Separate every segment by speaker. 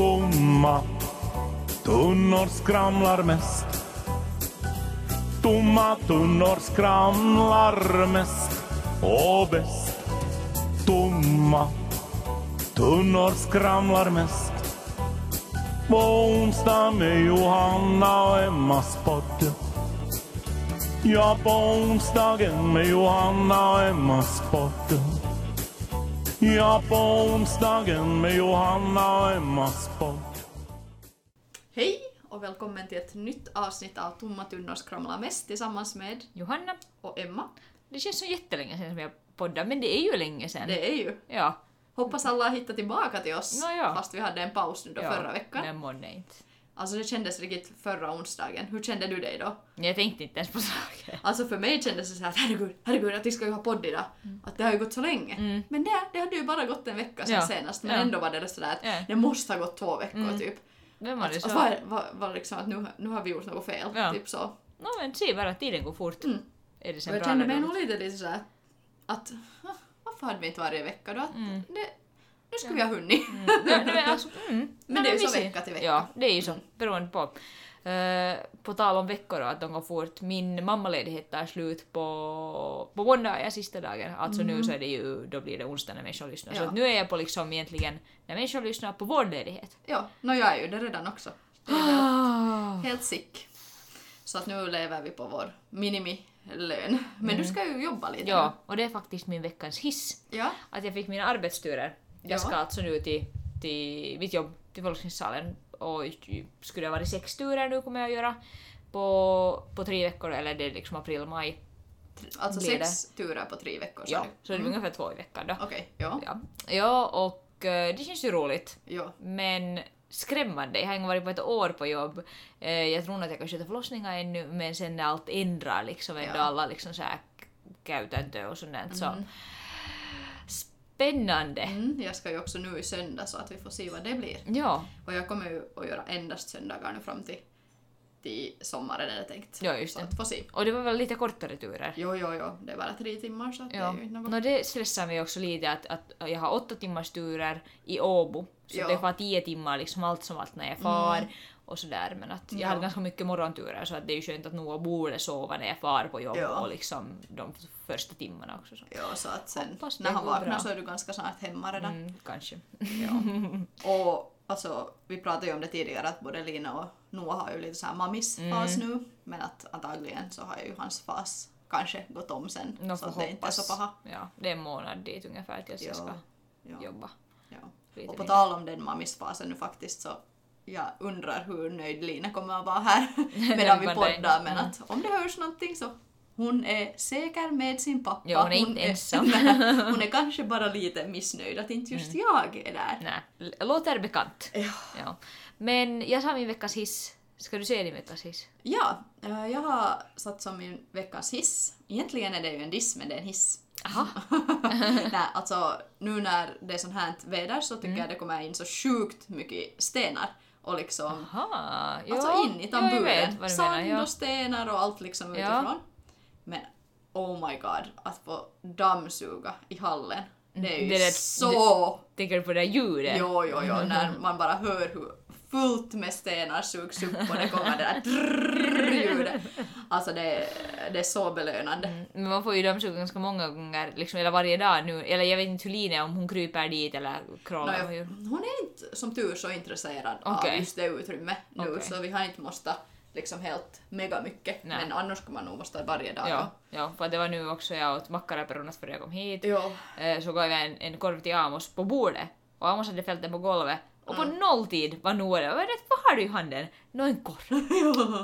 Speaker 1: Tomma tunnor skramlar mest. Tomma tunnor skramlar mest och bäst. Tomma tunnor skramlar mest. På onsdag med Johanna och Emmas podd. Ja, på onsdagen med Johanna och Emmas podd. Ja, på onsdagen med Johanna och Emmas podd.
Speaker 2: Hej och välkommen till ett nytt avsnitt av Tomma tunnor skramlar mest tillsammans med
Speaker 3: Johanna,
Speaker 2: och Emma.
Speaker 3: det känns som jättelänge sedan som jag poddade, men det är ju länge sedan.
Speaker 2: Det är ju.
Speaker 3: Ja,
Speaker 2: Hoppas alla har hittat tillbaka till oss
Speaker 3: Nå ja.
Speaker 2: fast vi hade en paus nu då
Speaker 3: ja,
Speaker 2: förra veckan.
Speaker 3: Men månne inte.
Speaker 2: Alltså det kändes riktigt förra onsdagen. Hur kände du dig då?
Speaker 3: Men Jag tänkte inte ens på saker.
Speaker 2: Alltså för mig kändes det så här att herregud, herregud att vi ska ju ha podd idag. Att det har ju gått så länge.
Speaker 3: Mm.
Speaker 2: Men det, det hade ju bara gått en vecka sedan
Speaker 3: Ja.
Speaker 2: senast men
Speaker 3: Ja.
Speaker 2: ändå var det sådär att
Speaker 3: Ja.
Speaker 2: det måste ha gått två veckor
Speaker 3: Mm.
Speaker 2: typ.
Speaker 3: Vem var det
Speaker 2: Att,
Speaker 3: så?
Speaker 2: att var, var, var liksom att nu, nu har vi gjort något fel.
Speaker 3: Ja.
Speaker 2: Typ så.
Speaker 3: Nå men se bara, tiden går fort.
Speaker 2: Mm.
Speaker 3: Är det sen
Speaker 2: Och jag
Speaker 3: bra
Speaker 2: kände
Speaker 3: eller
Speaker 2: mig nog
Speaker 3: dåligt?
Speaker 2: lite lite sådär att "Ah, varför hade vi inte varje vecka då? Att
Speaker 3: Mm.
Speaker 2: det, nu skulle vi ha hunnit.
Speaker 3: Mm. Ja, nej, men alltså, mm. Nej,
Speaker 2: det är ju
Speaker 3: vi
Speaker 2: så
Speaker 3: ser.
Speaker 2: vecka till vecka.
Speaker 3: Ja, det är ju så. Beroende på. Eh, på tal om veckor och att de går fort. Min mammaledighet tar slut på, på måndag, är sista dagen. Alltså nu så är det ju, då blir det onsdag när människor lyssnar. Så
Speaker 2: Mm. Ja.
Speaker 3: att nu är jag på liksom egentligen, när människor lyssnar på vår ledighet.
Speaker 2: Ja, no, jag är ju det redan också. Det är väl helt sick. Så att nu lever vi på vår minimilön. Men du ska ju jobba lite
Speaker 3: Mm. Ja, och det är faktiskt min veckans hiss.
Speaker 2: nu. Ja.
Speaker 3: Att jag fick mina arbetsturer.
Speaker 2: Ja.
Speaker 3: Jag ska alltså nu till, till mitt jobb, till Folkskensalen. Och ju- skulle det ha varit sex turer nu kommer jag göra. På, på tre veckor, eller det är liksom april, maj.
Speaker 2: Alltså
Speaker 3: Blir
Speaker 2: sex turer på tre veckor sa
Speaker 3: Ja,
Speaker 2: du.
Speaker 3: så det är ungefär två i veckan då.
Speaker 2: Okej, ja.
Speaker 3: Ja, ja och eh, det känns ju roligt.
Speaker 2: ja.
Speaker 3: Men skrämmande. Jag har inte varit på ett år på jobb. Eh, Jag tror att jag kan sköta förlossningar ännu men sen när allt ändrar liksom ändå
Speaker 2: Ja.
Speaker 3: alla liksom så här k- käytäntö och sånt där, så
Speaker 2: Mm.
Speaker 3: spännande.
Speaker 2: Mm, jag ska ju också nu i söndag så att vi får se vad det blir.
Speaker 3: Ja,
Speaker 2: Och jag kommer ju att göra endast söndagar nu fram till, till sommaren är det tänkt.
Speaker 3: Ja, just
Speaker 2: så
Speaker 3: det.
Speaker 2: att få se.
Speaker 3: och det var väl lite kortare turer.
Speaker 2: Jo, jo, jo, det är bara tre timmar så att det
Speaker 3: Ja.
Speaker 2: är ju inte något.
Speaker 3: No, det stressar mig också lite att, att jag har åtta timmars turer i Åbo. Så
Speaker 2: Ja.
Speaker 3: det är bara tio timmar liksom allt som allt när jag far
Speaker 2: Mm.
Speaker 3: och sådär. Men att jag
Speaker 2: Ja.
Speaker 3: hade ganska mycket morgonturer så att det är ju skönt att Noah borde sova när jag far på jobb
Speaker 2: Ja.
Speaker 3: och liksom de första timmarna också. Så.
Speaker 2: Ja, så att sen
Speaker 3: Hoppas det
Speaker 2: när han
Speaker 3: går
Speaker 2: vaknar
Speaker 3: bra.
Speaker 2: så är du ganska snart hemma redan.
Speaker 3: Mm, kanske. Mm.
Speaker 2: Ja. Och alltså, vi pratade ju om det tidigare att både Lina och Noah har ju lite så här mammisfas
Speaker 3: Mm.
Speaker 2: nu. Men att antagligen så har ju hans fas kanske gått om sen.
Speaker 3: No,
Speaker 2: så att det inte är så paha.
Speaker 3: Ja, det är en månad dit ungefär tills jag ska
Speaker 2: ja,
Speaker 3: jobba.
Speaker 2: ja.
Speaker 3: lite
Speaker 2: Och på
Speaker 3: mer.
Speaker 2: tal om den mammisfasen nu faktiskt så jag undrar hur nöjd Lina kommer att vara här medan vi
Speaker 3: Vad
Speaker 2: poddar.
Speaker 3: nöjd.
Speaker 2: Men
Speaker 3: Mm.
Speaker 2: att om det hörs någonting så hon är säker med sin pappa.
Speaker 3: Ja, hon är inte ensam. Mm.
Speaker 2: hon är kanske bara lite missnöjd att inte just jag är där.
Speaker 3: Nej, l- låter bekant.
Speaker 2: Ja.
Speaker 3: Ja. Men jag sa min veckas hiss. Ska du se din veckas hiss?
Speaker 2: Ja, eh, jag har satt som min veckans hiss. Egentligen är det ju en diss, men det är en hiss.
Speaker 3: Aha.
Speaker 2: Nej, alltså nu när det är sånt här väder så
Speaker 3: Mm.
Speaker 2: tycker jag det kommer in så sjukt mycket stenar och liksom
Speaker 3: Aha. Jo,
Speaker 2: Alltså in i
Speaker 3: jo, jag vet
Speaker 2: tamburen.
Speaker 3: vad du menar.
Speaker 2: Sand
Speaker 3: Ja.
Speaker 2: och stenar och allt liksom
Speaker 3: Ja.
Speaker 2: utifrån. Men oh my god, att få dammsuga i hallen. Det är ju
Speaker 3: Det är det-
Speaker 2: så...
Speaker 3: Tänker du på det där ljudet?
Speaker 2: Jo, jo, jo, när man bara hör hur fullt med stenar sugs upp och det kommer det där drrrrljudet. Alltså det, det är så belönande.
Speaker 3: Men man får ju dammsuga ganska många gånger, liksom, eller varje dag nu. Eller jag vet inte hur Lina är, om hon kryper dit eller
Speaker 2: Nå,
Speaker 3: krålar.
Speaker 2: jag-
Speaker 3: vad hon gör.
Speaker 2: hon är inte som tur så intresserad av
Speaker 3: Okej.
Speaker 2: just det utrymmet nu
Speaker 3: Okej.
Speaker 2: så vi har inte måste liksom helt mega mycket.
Speaker 3: Nej.
Speaker 2: Men annars skulle man nog måste varje dag.
Speaker 3: Ja, ja, för att det var nu också jag åt mackaraperunat före jag kom hit.
Speaker 2: Jo.
Speaker 3: Eh, Så gav jag en, en korv till Amos på bordet. Och Amos hade fällt den på golvet. Och på nolltid var Noah där. Vad är det- Vad har du i handen? Nå, en korv.
Speaker 2: Jo.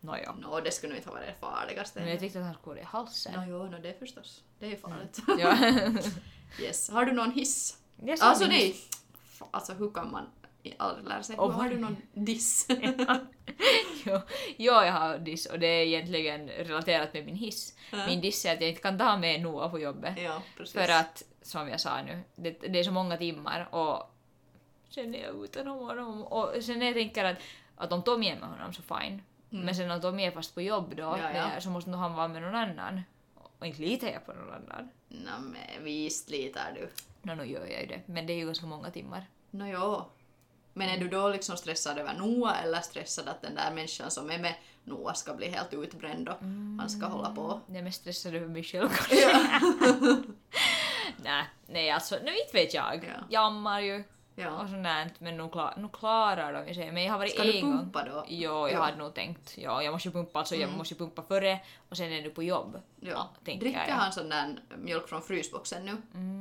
Speaker 3: Nåja.
Speaker 2: Nå, det skulle nog inte ha varit det farligaste.
Speaker 3: Men jag tyckte att han skulle gå i halsen.
Speaker 2: Nå, jo, nå, det förstås. Det är ju farligt.
Speaker 3: Ja.
Speaker 2: yes. Har du någon hiss?
Speaker 3: Jag sa
Speaker 2: Alltså
Speaker 3: min-
Speaker 2: nej! F- Alltså hur kan man i- aldrig lära sig?
Speaker 3: Och
Speaker 2: har
Speaker 3: vad-
Speaker 2: du någon diss?
Speaker 3: Jo, jo, jag har diss och det är egentligen relaterat med min hiss. Min diss är att jag inte kan ta med Noah på jobbet.
Speaker 2: ja, precis.
Speaker 3: För att, som jag sa nu, det, det är så många timmar och sen är jag utan honom. Och sen när jag tänker att, att om Tommy är med honom så fine. Men sen om Tommy är fast på jobb då,
Speaker 2: Mm. Ja, ja.
Speaker 3: när- så måste nog han vara med någon annan. Och inte litar jag på någon annan.
Speaker 2: Nå, men visst litar du.
Speaker 3: Nå, nu gör jag ju det. Men det är ju ganska många timmar.
Speaker 2: Nå, jo. Men är du då liksom stressad över Noa eller stressad att den där människan som är med Noa ska bli helt utbränd och
Speaker 3: Mm.
Speaker 2: han ska hålla på?
Speaker 3: Jag är mest stressad över mig själv kanske.
Speaker 2: Ja.
Speaker 3: Nej, nej alltså, nu inte vet jag.
Speaker 2: Ja.
Speaker 3: Jammar ju
Speaker 2: ja.
Speaker 3: och sånt där, men nu, klar, nu klarar de ju sig. Men jag har varit
Speaker 2: Ska
Speaker 3: en
Speaker 2: du pumpa
Speaker 3: gång.
Speaker 2: då?
Speaker 3: Jo, jag
Speaker 2: Ja.
Speaker 3: hade nog tänkt. Ja, jag måste ju pumpa, alltså jag måste ju pumpa före och sen är du på jobb.
Speaker 2: Ja.
Speaker 3: tänker
Speaker 2: Dricker
Speaker 3: jag.
Speaker 2: han sån där mjölk från frysboxen nu?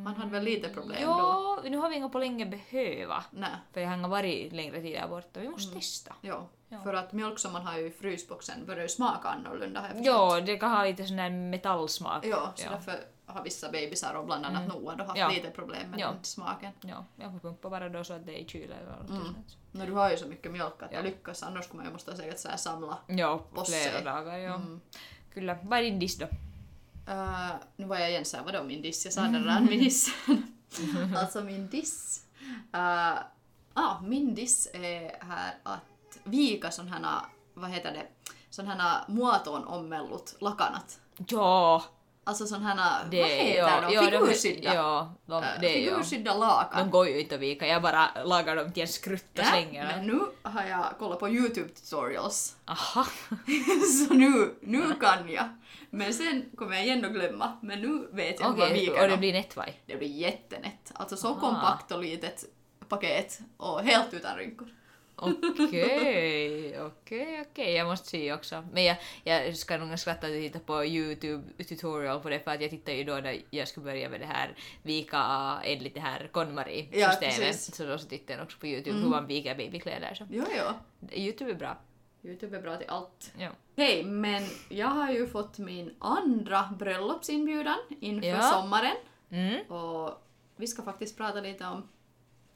Speaker 2: Han hade väl lite problem
Speaker 3: Mm.
Speaker 2: då?
Speaker 3: Ja, nu har vi inga på länge behöva.
Speaker 2: Nej.
Speaker 3: För jag har inte varit längre tid där borta. Vi måste testa.
Speaker 2: Ja.
Speaker 3: Ja.
Speaker 2: För att mjölk som man har ju i frysboxen börjar ju smaka annorlunda har jag förstått.
Speaker 3: Jo, det kan ha lite sån där metallsmak.
Speaker 2: Ja, så
Speaker 3: ja.
Speaker 2: därför har vissa bebisar och bland annat Noah då haft
Speaker 3: Ja.
Speaker 2: lite problem med
Speaker 3: Ja.
Speaker 2: den smaken.
Speaker 3: Ja, jag får pumpa bara då så att det är i kylen eller något sånt.
Speaker 2: No, du har ju så mycket mjölk att
Speaker 3: Ja.
Speaker 2: jag lyckas, annars skulle man ju måste säkert så här samla.
Speaker 3: Ja, på
Speaker 2: Posse.
Speaker 3: flera dagar. Ja. Kyllä. Vad är din diss då?
Speaker 2: Eh, nu var jag igen såhär, vadå min diss? Jag sa den redan, min diss. alltså min diss. Uh, ah, min diss är här att vika sån här, vad heter det, sån här muotoon ommellut lakanat.
Speaker 3: Ja,
Speaker 2: Alltså sån här,
Speaker 3: det
Speaker 2: vad heter
Speaker 3: ja,
Speaker 2: de?
Speaker 3: ja,
Speaker 2: Figursydda.
Speaker 3: Ja, de,
Speaker 2: Äh,
Speaker 3: det är ju.
Speaker 2: figursydda lakan.
Speaker 3: De går ju inte att vika, jag bara lagar dem till en skrutt och
Speaker 2: Nä,
Speaker 3: slänger
Speaker 2: men
Speaker 3: dem.
Speaker 2: nu har jag kollat på YouTube tutorials.
Speaker 3: Aha.
Speaker 2: så nu, nu
Speaker 3: Mm.
Speaker 2: kan jag. Men sen kommer jag igen att glömma. Men nu vet jag hur man
Speaker 3: Okej,
Speaker 2: viker
Speaker 3: och det
Speaker 2: dem.
Speaker 3: blir nättvaj.
Speaker 2: det blir jättenätt. Alltså så
Speaker 3: Aha.
Speaker 2: kompakt och litet paket och helt utan rynkor.
Speaker 3: Okej, okej, okej. Jag måste se också. Men jag, jag ska nog skratta att titta på YouTube tutorial på det för att jag tittade ju då när jag skulle börja med det här vika enligt det här
Speaker 2: Ja,
Speaker 3: KonMari-systemet.
Speaker 2: precis.
Speaker 3: så då så tittade jag också på YouTube hur man viker babykläder. Så.
Speaker 2: Jo, jo.
Speaker 3: YouTube är bra.
Speaker 2: YouTube är bra till allt.
Speaker 3: Ja.
Speaker 2: Hej, men jag har ju fått min andra bröllopsinbjudan inför
Speaker 3: Ja.
Speaker 2: sommaren.
Speaker 3: Mm.
Speaker 2: Och vi ska faktiskt prata lite om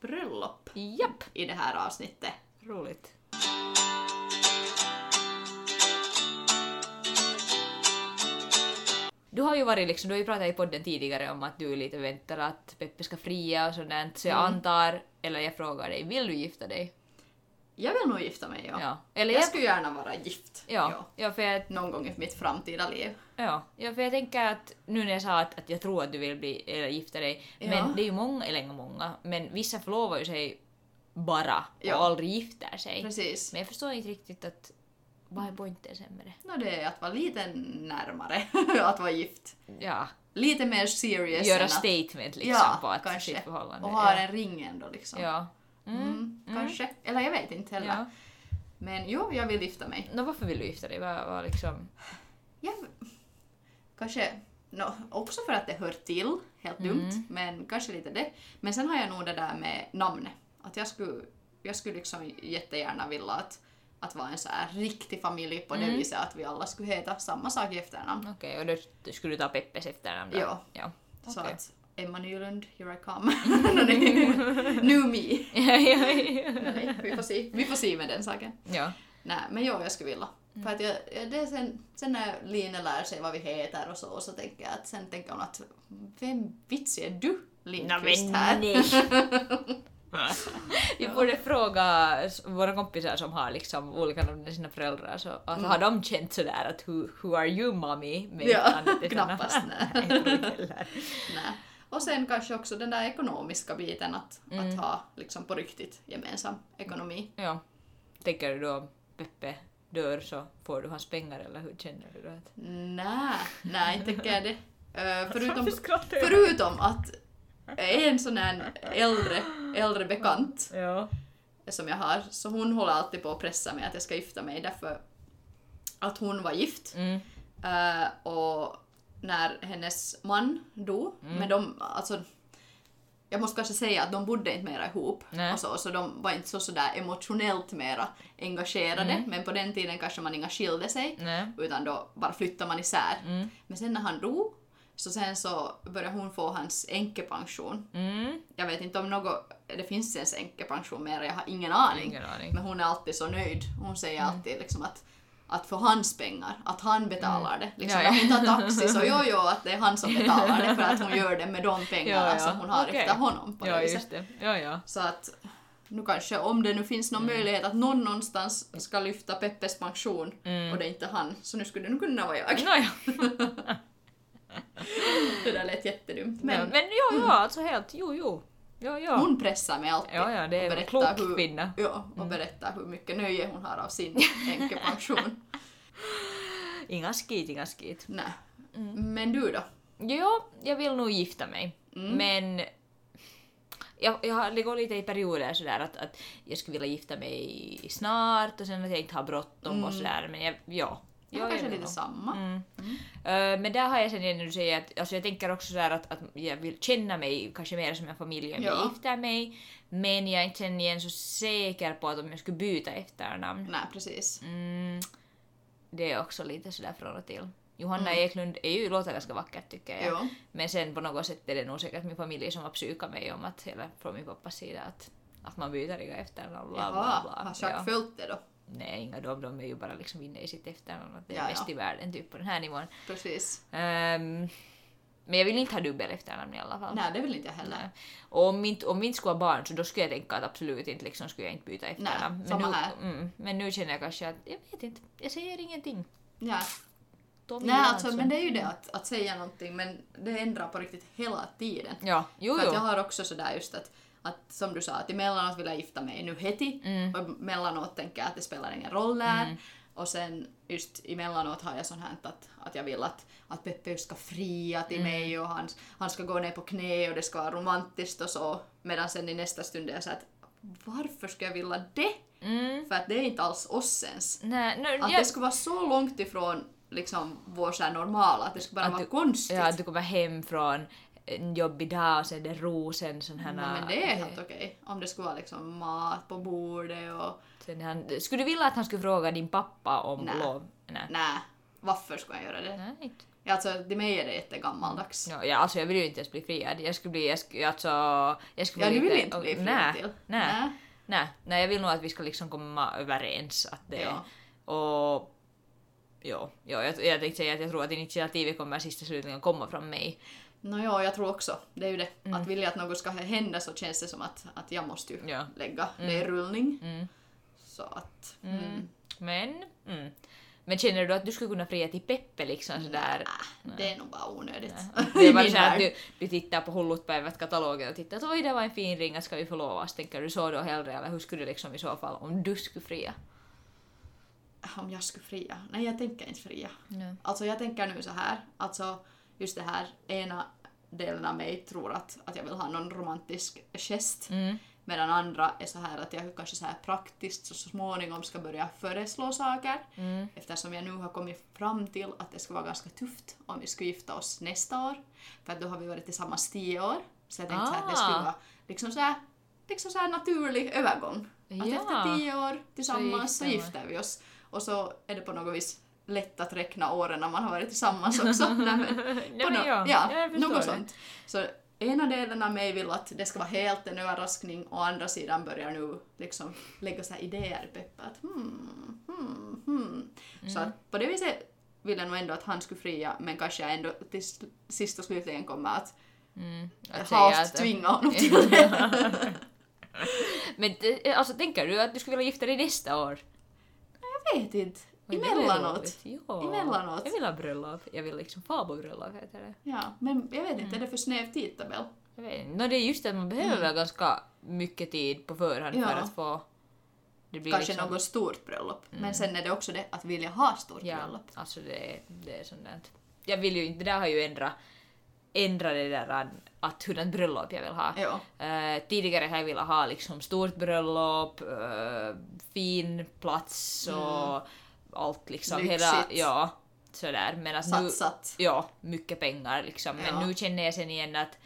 Speaker 2: bröllop
Speaker 3: Japp,
Speaker 2: i det här avsnittet.
Speaker 3: roligt. Du har ju varit liksom, du har ju pratat i podden tidigare om att du lite väntar att Peppe ska fria och sådant, så jag
Speaker 2: Mm.
Speaker 3: antar, eller jag frågar dig, vill du gifta dig?
Speaker 2: Jag vill nog gifta mig, ja.
Speaker 3: Ja. Eller jag,
Speaker 2: Jag skulle gärna vara gift.
Speaker 3: ja, ja, för jag,
Speaker 2: någon gång i mitt framtida liv.
Speaker 3: ja, ja, för jag tänker att nu när jag sa att, att jag tror att du vill bli, eller gifta dig,
Speaker 2: Ja.
Speaker 3: men det är ju många, eller inga många, men vissa förlovar ju sig bara och
Speaker 2: Ja.
Speaker 3: aldrig gifter sig.
Speaker 2: Precis.
Speaker 3: Men jag förstår inte riktigt att vad är poängen sen med det?
Speaker 2: No, det är att vara lite närmare att vara gift.
Speaker 3: Ja,
Speaker 2: Lite mer serious än
Speaker 3: göra
Speaker 2: att-
Speaker 3: statement liksom
Speaker 2: ja,
Speaker 3: på att
Speaker 2: kanske.
Speaker 3: sitt förhållande.
Speaker 2: Och ha
Speaker 3: ja.
Speaker 2: en ring ändå liksom.
Speaker 3: Ja. Mm.
Speaker 2: Mm, Kanske. Eller jag vet inte heller.
Speaker 3: ja.
Speaker 2: Men jo, jag vill gifta mig.
Speaker 3: Nå, varför vill du gifta dig? Vad, vad liksom...
Speaker 2: Jag... Kanske... No, också för att det hör till, helt dumt, men kanske lite det. Men sen har jag nog det där med namnet. Att jag skulle, jag skulle liksom jättegärna vilja att, att vara en så här riktig familj på det viset att vi alla skulle heta samma sak i efternamn.
Speaker 3: Okej, och då skulle du ta Peppes efternamn då?
Speaker 2: Ja.
Speaker 3: ja.
Speaker 2: Så
Speaker 3: Okej.
Speaker 2: att Emma Nylund, here I come. No, det- New me.
Speaker 3: ja, ja, ja.
Speaker 2: Nej, vi får se. Vi får se med den saken.
Speaker 3: ja.
Speaker 2: Nej, men jo, jag skulle vilja.
Speaker 3: Mm.
Speaker 2: För att jag, jag- det är sen, sen när Line lär sig vad vi heter och så, och så tänker jag att sen tänker hon att vem vits är du Lindqvist här?
Speaker 3: nej! Vi borde fråga s- våra kompisar som har liksom olika namn än sina föräldrar, så, att har de känt sådär att who, who are you mommy? Men
Speaker 2: Mm. Ja,
Speaker 3: inte annat än
Speaker 2: knappast,
Speaker 3: såna-
Speaker 2: nej.
Speaker 3: Nej, jag tror inte heller.
Speaker 2: Nej. Och sen kanske också den där ekonomiska biten att,
Speaker 3: Mm.
Speaker 2: att ha liksom på riktigt gemensam ekonomi.
Speaker 3: Ja. Tänker du då om Peppe dör så får du hans pengar eller hur känner du då? Att...
Speaker 2: Nej, nej, inte tänker jag det. Ö, förutom,
Speaker 3: skrattar
Speaker 2: förutom att en sån här äldre, äldre bekant
Speaker 3: Ja.
Speaker 2: som jag har, så hon håller alltid på att pressa mig att jag ska gifta mig därför att hon var gift.
Speaker 3: Mm.
Speaker 2: Eh, och när hennes man dog,
Speaker 3: Mm.
Speaker 2: men de, alltså, jag måste kanske säga att de bodde inte mera ihop,
Speaker 3: Nej.
Speaker 2: och så, så de var inte så sådär emotionellt mera engagerade,
Speaker 3: Mm.
Speaker 2: men på den tiden kanske man inga skilde sig,
Speaker 3: Nej.
Speaker 2: utan då bara flyttade man isär.
Speaker 3: Mm.
Speaker 2: Men sen när han dog, så sen så började hon få hans änkepension.
Speaker 3: Mm.
Speaker 2: Jag vet inte om något, det finns ens änkepension mera, jag har ingen aning.
Speaker 3: Ingen aning.
Speaker 2: Men hon är alltid så nöjd. Hon säger
Speaker 3: Mm.
Speaker 2: alltid liksom att, att för hans pengar, att han betalar det. Liksom,
Speaker 3: Mm. Ja, ja.
Speaker 2: När hon tar taxi så jo, jo, att det är han som betalar det för att hon gör det med de pengarna
Speaker 3: Ja, ja.
Speaker 2: som hon har
Speaker 3: Okej.
Speaker 2: efter honom. På det
Speaker 3: Ja
Speaker 2: viset.
Speaker 3: just det. Ja ja.
Speaker 2: Så att nu kanske, om det nu finns någon
Speaker 3: Mm.
Speaker 2: möjlighet att någon någonstans ska lyfta Peppes pension
Speaker 3: Mm.
Speaker 2: och det är inte han, så nu skulle det nog kunna vara jag.
Speaker 3: Nåja.
Speaker 2: Det där lät jättedumt.
Speaker 3: Men,
Speaker 2: Men,
Speaker 3: men ja, ja alltså helt, jo jo. Jo, jo.
Speaker 2: Hon pressar mig alltid
Speaker 3: Ja, ja, det är
Speaker 2: och
Speaker 3: en
Speaker 2: berättar
Speaker 3: klok
Speaker 2: hur,
Speaker 3: kvinna. Mm.
Speaker 2: Ja, och berättar hur mycket nöje hon har av sin änkepension.
Speaker 3: Inga skit, inga skit.
Speaker 2: Nej.
Speaker 3: Mm.
Speaker 2: Men du då?
Speaker 3: Jo, jag vill nog gifta mig.
Speaker 2: Mm.
Speaker 3: Men jag, jag har- det går lite i perioder sådär att, att jag skulle vilja gifta mig snart och sen att jag inte har bråttom och sådär. Men jag, ja.
Speaker 2: Mm. Jag
Speaker 3: Ja,
Speaker 2: har kanske
Speaker 3: vill
Speaker 2: lite
Speaker 3: nog.
Speaker 2: samma.
Speaker 3: Mm. Eh, Men där har jag sen igen när du säger att alltså jag tänker också sådär att, att jag vill känna mig kanske mer som en familj om
Speaker 2: Ja.
Speaker 3: jag gifter mig. Men jag är inte sen igen så säker på att om jag skulle byta efternamn.
Speaker 2: Nej, precis.
Speaker 3: Mm, det är också lite sådär från och till. Johanna
Speaker 2: Mm.
Speaker 3: Eklund är ju, låter ganska vackert tycker jag.
Speaker 2: Jo.
Speaker 3: Men sen på något sätt är det nog säkert min familj som har psykat mig om att, eller från min pappas sida att, att man byter inga efternamn. Bla, bla,
Speaker 2: Jaha,
Speaker 3: bla.
Speaker 2: har Jacques
Speaker 3: Ja.
Speaker 2: följt det då?
Speaker 3: Nej, inga de, de är ju bara liksom inne i sitt efternamn. Att det är
Speaker 2: Ja, ja.
Speaker 3: bäst i världen typ på den här nivån.
Speaker 2: Precis.
Speaker 3: Ehm, men jag vill inte ha dubbel efternamn i alla fall.
Speaker 2: Nej, det vill inte jag heller.
Speaker 3: Nej. Och om vi inte, om vi inte skulle ha barn så då skulle jag tänka att absolut inte liksom skulle jag inte byta efternamn. men,
Speaker 2: samma
Speaker 3: nu,
Speaker 2: här.
Speaker 3: Mm, men nu känner jag kanske att, jag vet inte, jag säger ingenting.
Speaker 2: Ja.
Speaker 3: Tommy
Speaker 2: Nej, alltså,
Speaker 3: Jansson.
Speaker 2: men det är ju det att, att säga någonting, men det ändrar på riktigt hela tiden.
Speaker 3: Ja, jo
Speaker 2: För att jag
Speaker 3: jo.
Speaker 2: har också sådär just att, att som du sa, att emellanåt vill jag gifta mig nu heti
Speaker 3: Mm.
Speaker 2: och emellanåt tänker jag att det spelar ingen roll där. Och sen just emellanåt har jag sånt här att, att jag vill att, att Peppe just ska fria
Speaker 3: Mm.
Speaker 2: till mig och han, han ska gå ner på knä och det ska vara romantiskt och så. Medan sen i nästa stund är jag såhär att varför ska jag vilja det? För att det är inte alls oss ens.
Speaker 3: Nej, no,
Speaker 2: Att
Speaker 3: Mm. jag,
Speaker 2: det skulle vara så långt ifrån liksom vår så här normala, att det skulle bara
Speaker 3: Att
Speaker 2: vara
Speaker 3: du-
Speaker 2: konstigt.
Speaker 3: ja, att du kommer hem från en jobbig dag och sen är det rosen sån här...
Speaker 2: Nej, men det är helt
Speaker 3: eh,
Speaker 2: okej. Om det skulle vara liksom mat på bordet och...
Speaker 3: sen han, Skulle du vilja att han skulle fråga din pappa om
Speaker 2: Nej.
Speaker 3: lov? Nej.
Speaker 2: Nej, varför skulle jag göra det?
Speaker 3: Nej. inte.
Speaker 2: Alltså, till mig är det jättegammaldags.
Speaker 3: No, ja, alltså jag vill ju inte ens bli friad. Jag skulle bli, jag skulle, alltså, jag skulle
Speaker 2: Ja,
Speaker 3: bli
Speaker 2: du vill
Speaker 3: lite-
Speaker 2: inte bli friad
Speaker 3: nej,
Speaker 2: till.
Speaker 3: Nej.
Speaker 2: Nej.
Speaker 3: Nej, nej, jag vill nog att vi ska liksom komma överens att det
Speaker 2: Ja.
Speaker 3: och Ja, ja jag, jag tänkte säga att jag tror att initiativet kommer sist och slutligen komma från mig.
Speaker 2: No, ja, jag tror också. Det är ju det.
Speaker 3: Mm.
Speaker 2: Att vilja att något ska hända så känns det som att, att jag måste ju
Speaker 3: Ja.
Speaker 2: lägga det i rullning.
Speaker 3: Mm.
Speaker 2: Så att... Mm.
Speaker 3: Men, mm. Men känner du att du skulle kunna fria till Peppe liksom sådär?
Speaker 2: Äh, det är nog bara onödigt.
Speaker 3: Det är
Speaker 2: I
Speaker 3: bara
Speaker 2: min
Speaker 3: så här att
Speaker 2: värld.
Speaker 3: du, du tittar på Hullutpäivät katalogen och tittar att oj det var en fin ring, att ska vi förlovas? Tänker du så då hellre eller hur skulle du liksom i så fall om du skulle fria?
Speaker 2: Om jag skulle fria? Nej, jag tänker inte fria.
Speaker 3: Nej.
Speaker 2: Alltså jag tänker nu så här, alltså just det här ena delen av mig tror att, att jag vill ha någon romantisk gest
Speaker 3: Mm.
Speaker 2: medan andra är så här att jag kanske så här praktiskt så småningom ska börja föreslå saker
Speaker 3: Mm.
Speaker 2: eftersom jag nu har kommit fram till att det skulle vara ganska tufft om vi skulle gifta oss nästa år för att då har vi varit tillsammans tio år så jag tänkte så här att det skulle
Speaker 3: Ah.
Speaker 2: vara liksom så här, liksom så här naturlig övergång att
Speaker 3: Ja.
Speaker 2: efter tio år tillsammans så
Speaker 3: gifter man.
Speaker 2: gifter vi oss och så är det på något vis lätt att räkna åren när man har varit tillsammans också. Nej, men,
Speaker 3: Nej,
Speaker 2: på
Speaker 3: men
Speaker 2: nå-
Speaker 3: ja,
Speaker 2: ja,
Speaker 3: jag förstår
Speaker 2: något
Speaker 3: det.
Speaker 2: sånt. Så ena delen av mig vill att det ska vara helt en överraskning och andra sidan börjar nu liksom lägga så här idéer i Peppe att hmm, hmm, hmm. Så
Speaker 3: Mm.
Speaker 2: att på det viset vill jag nog ändå att han skulle fria men kanske jag ändå till s- sist och slutligen kommer att
Speaker 3: Att säga
Speaker 2: halvt
Speaker 3: att-
Speaker 2: tvinga honom till det.
Speaker 3: Men eh, alltså tänker du att du skulle vilja gifta dig nästa år?
Speaker 2: Jag vet inte.
Speaker 3: Oj, det är
Speaker 2: Emellanåt.
Speaker 3: roligt. Ja.
Speaker 2: Emellanåt.
Speaker 3: Jag vill ha bröllop. Jag vill liksom farbrorbröllop heter det.
Speaker 2: Ja, men jag vet
Speaker 3: Mm.
Speaker 2: inte, är det för snäv tidtabell?
Speaker 3: Jag vet inte. No, det är just det att man behöver väl ganska mycket tid på förhand
Speaker 2: Ja.
Speaker 3: för att få... Det blir
Speaker 2: Kanske
Speaker 3: liksom, Mm.
Speaker 2: något stort bröllop. Men sen är det också det att vilja ha stort
Speaker 3: Ja,
Speaker 2: bröllop.
Speaker 3: alltså det, är- det är sånt där. att- Jag vill ju inte, det där har ju ändrat, ändrat det där an- att hurdant bröllop jag vill ha.
Speaker 2: Ja.
Speaker 3: Eh, tidigare har jag velat ha liksom stort bröllop, eh, fin plats och allt liksom. Hela,
Speaker 2: Mm. Lyxigt.
Speaker 3: ja, sådär. Men att nu,
Speaker 2: Satsat.
Speaker 3: ja, mycket pengar liksom. Men
Speaker 2: Ja.
Speaker 3: nu känner jag sen igen att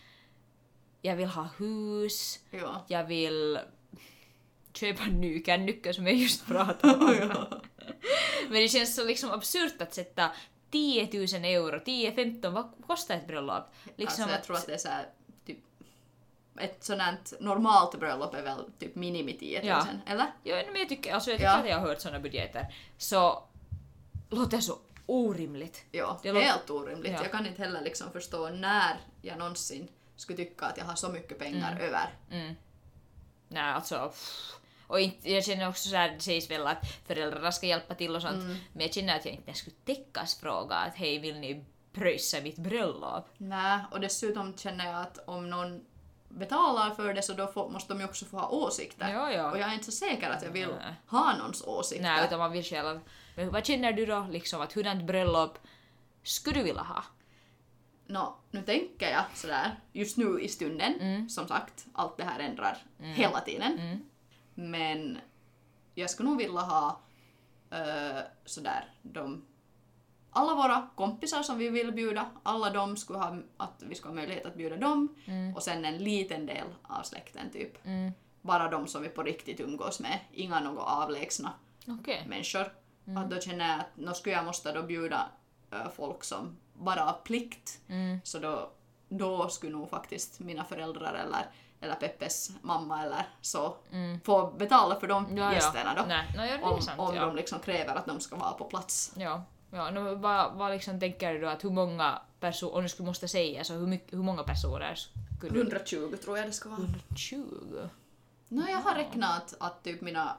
Speaker 3: jag vill ha hus,
Speaker 2: Ja.
Speaker 3: jag vill köpa en ny kännyckel som jag just pratade om. Men det känns så liksom absurt att sätta 10 000 euro, 10-15, vad kostar ett bröllop? Liksom
Speaker 2: alltså jag
Speaker 3: att-
Speaker 2: tror att det är så här, typ, ett sånt här normalt bröllop är väl typ minimi 10 000,
Speaker 3: Ja.
Speaker 2: eller?
Speaker 3: Ja, men jag tycker, alltså jag tycker
Speaker 2: Ja.
Speaker 3: att jag har hört såna budgeter. Så låter så orimligt.
Speaker 2: Ja,
Speaker 3: Det lå-
Speaker 2: helt orimligt.
Speaker 3: Ja.
Speaker 2: Jag kan inte heller liksom förstå när jag någonsin skulle tycka att jag har så mycket pengar
Speaker 3: Mm.
Speaker 2: över.
Speaker 3: Nej, alltså... Pff. Och inte, jag känner också såhär, det sägs väl att föräldrarna ska hjälpa till och sånt. Men jag känner att jag inte ens skulle täckas fråga att hej, vill ni pröjsa mitt bröllop?
Speaker 2: Nej, och dessutom känner jag att om någon betalar för det så då får, måste de ju också få ha åsikter.
Speaker 3: Ja, ja.
Speaker 2: Och jag är inte så säker att jag vill
Speaker 3: Nej.
Speaker 2: ha någons åsikter.
Speaker 3: Nej, utan man vill själv. Men vad känner du då liksom att hurdant bröllop skulle du vilja ha?
Speaker 2: Nå, nu tänker jag sådär just nu i stunden. Som sagt, allt det här ändrar hela tiden. Men jag skulle nog vilja ha eh, sådär de alla våra kompisar som vi vill bjuda, alla de skulle ha, att vi skulle ha möjlighet att bjuda dem och sen en liten del av släkten typ. Bara de som vi på riktigt umgås med, inga något avlägsna
Speaker 3: Okej.
Speaker 2: människor.
Speaker 3: Mm.
Speaker 2: Att då känner jag att nu skulle jag måste då bjuda ö, folk som bara av plikt.
Speaker 3: Mm.
Speaker 2: Så då, då skulle nog faktiskt mina föräldrar eller, eller Peppes mamma eller så få betala för de gästerna då.
Speaker 3: Mm. Nej, no, ja, det är
Speaker 2: Om,
Speaker 3: sant.
Speaker 2: om
Speaker 3: ja.
Speaker 2: de liksom kräver att de ska vara på plats.
Speaker 3: ja. ja no, vad, vad liksom tänker du då att hur många personer, om du skulle måste säga så hur, mycket, hur många personer skulle du...
Speaker 2: 120 tror jag det ska vara.
Speaker 3: 20?
Speaker 2: No, jag har räknat att typ mina,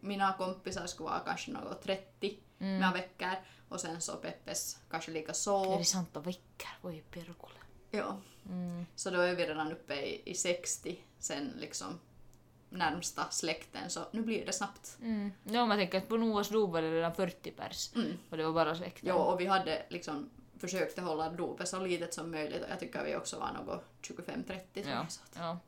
Speaker 2: mina kompisar skulle vara kanske något 30 mina veckor och sen så Peppes kanske lika så.
Speaker 3: Är Mm. det sant och veckor? Voi perkule.
Speaker 2: Ja.
Speaker 3: Mm.
Speaker 2: Så då är vi redan uppe i, i 60 sen liksom närmsta släkten så nu blir det snabbt.
Speaker 3: Mm. No, man tänker att på Noas dop var det redan 40 pers
Speaker 2: Mm.
Speaker 3: och det var bara släkten.
Speaker 2: Jo, och vi hade liksom försökt att hålla dopet så litet som möjligt och jag tycker vi också var något 25-30 tror
Speaker 3: Ja,
Speaker 2: jag. Så att-
Speaker 3: ja.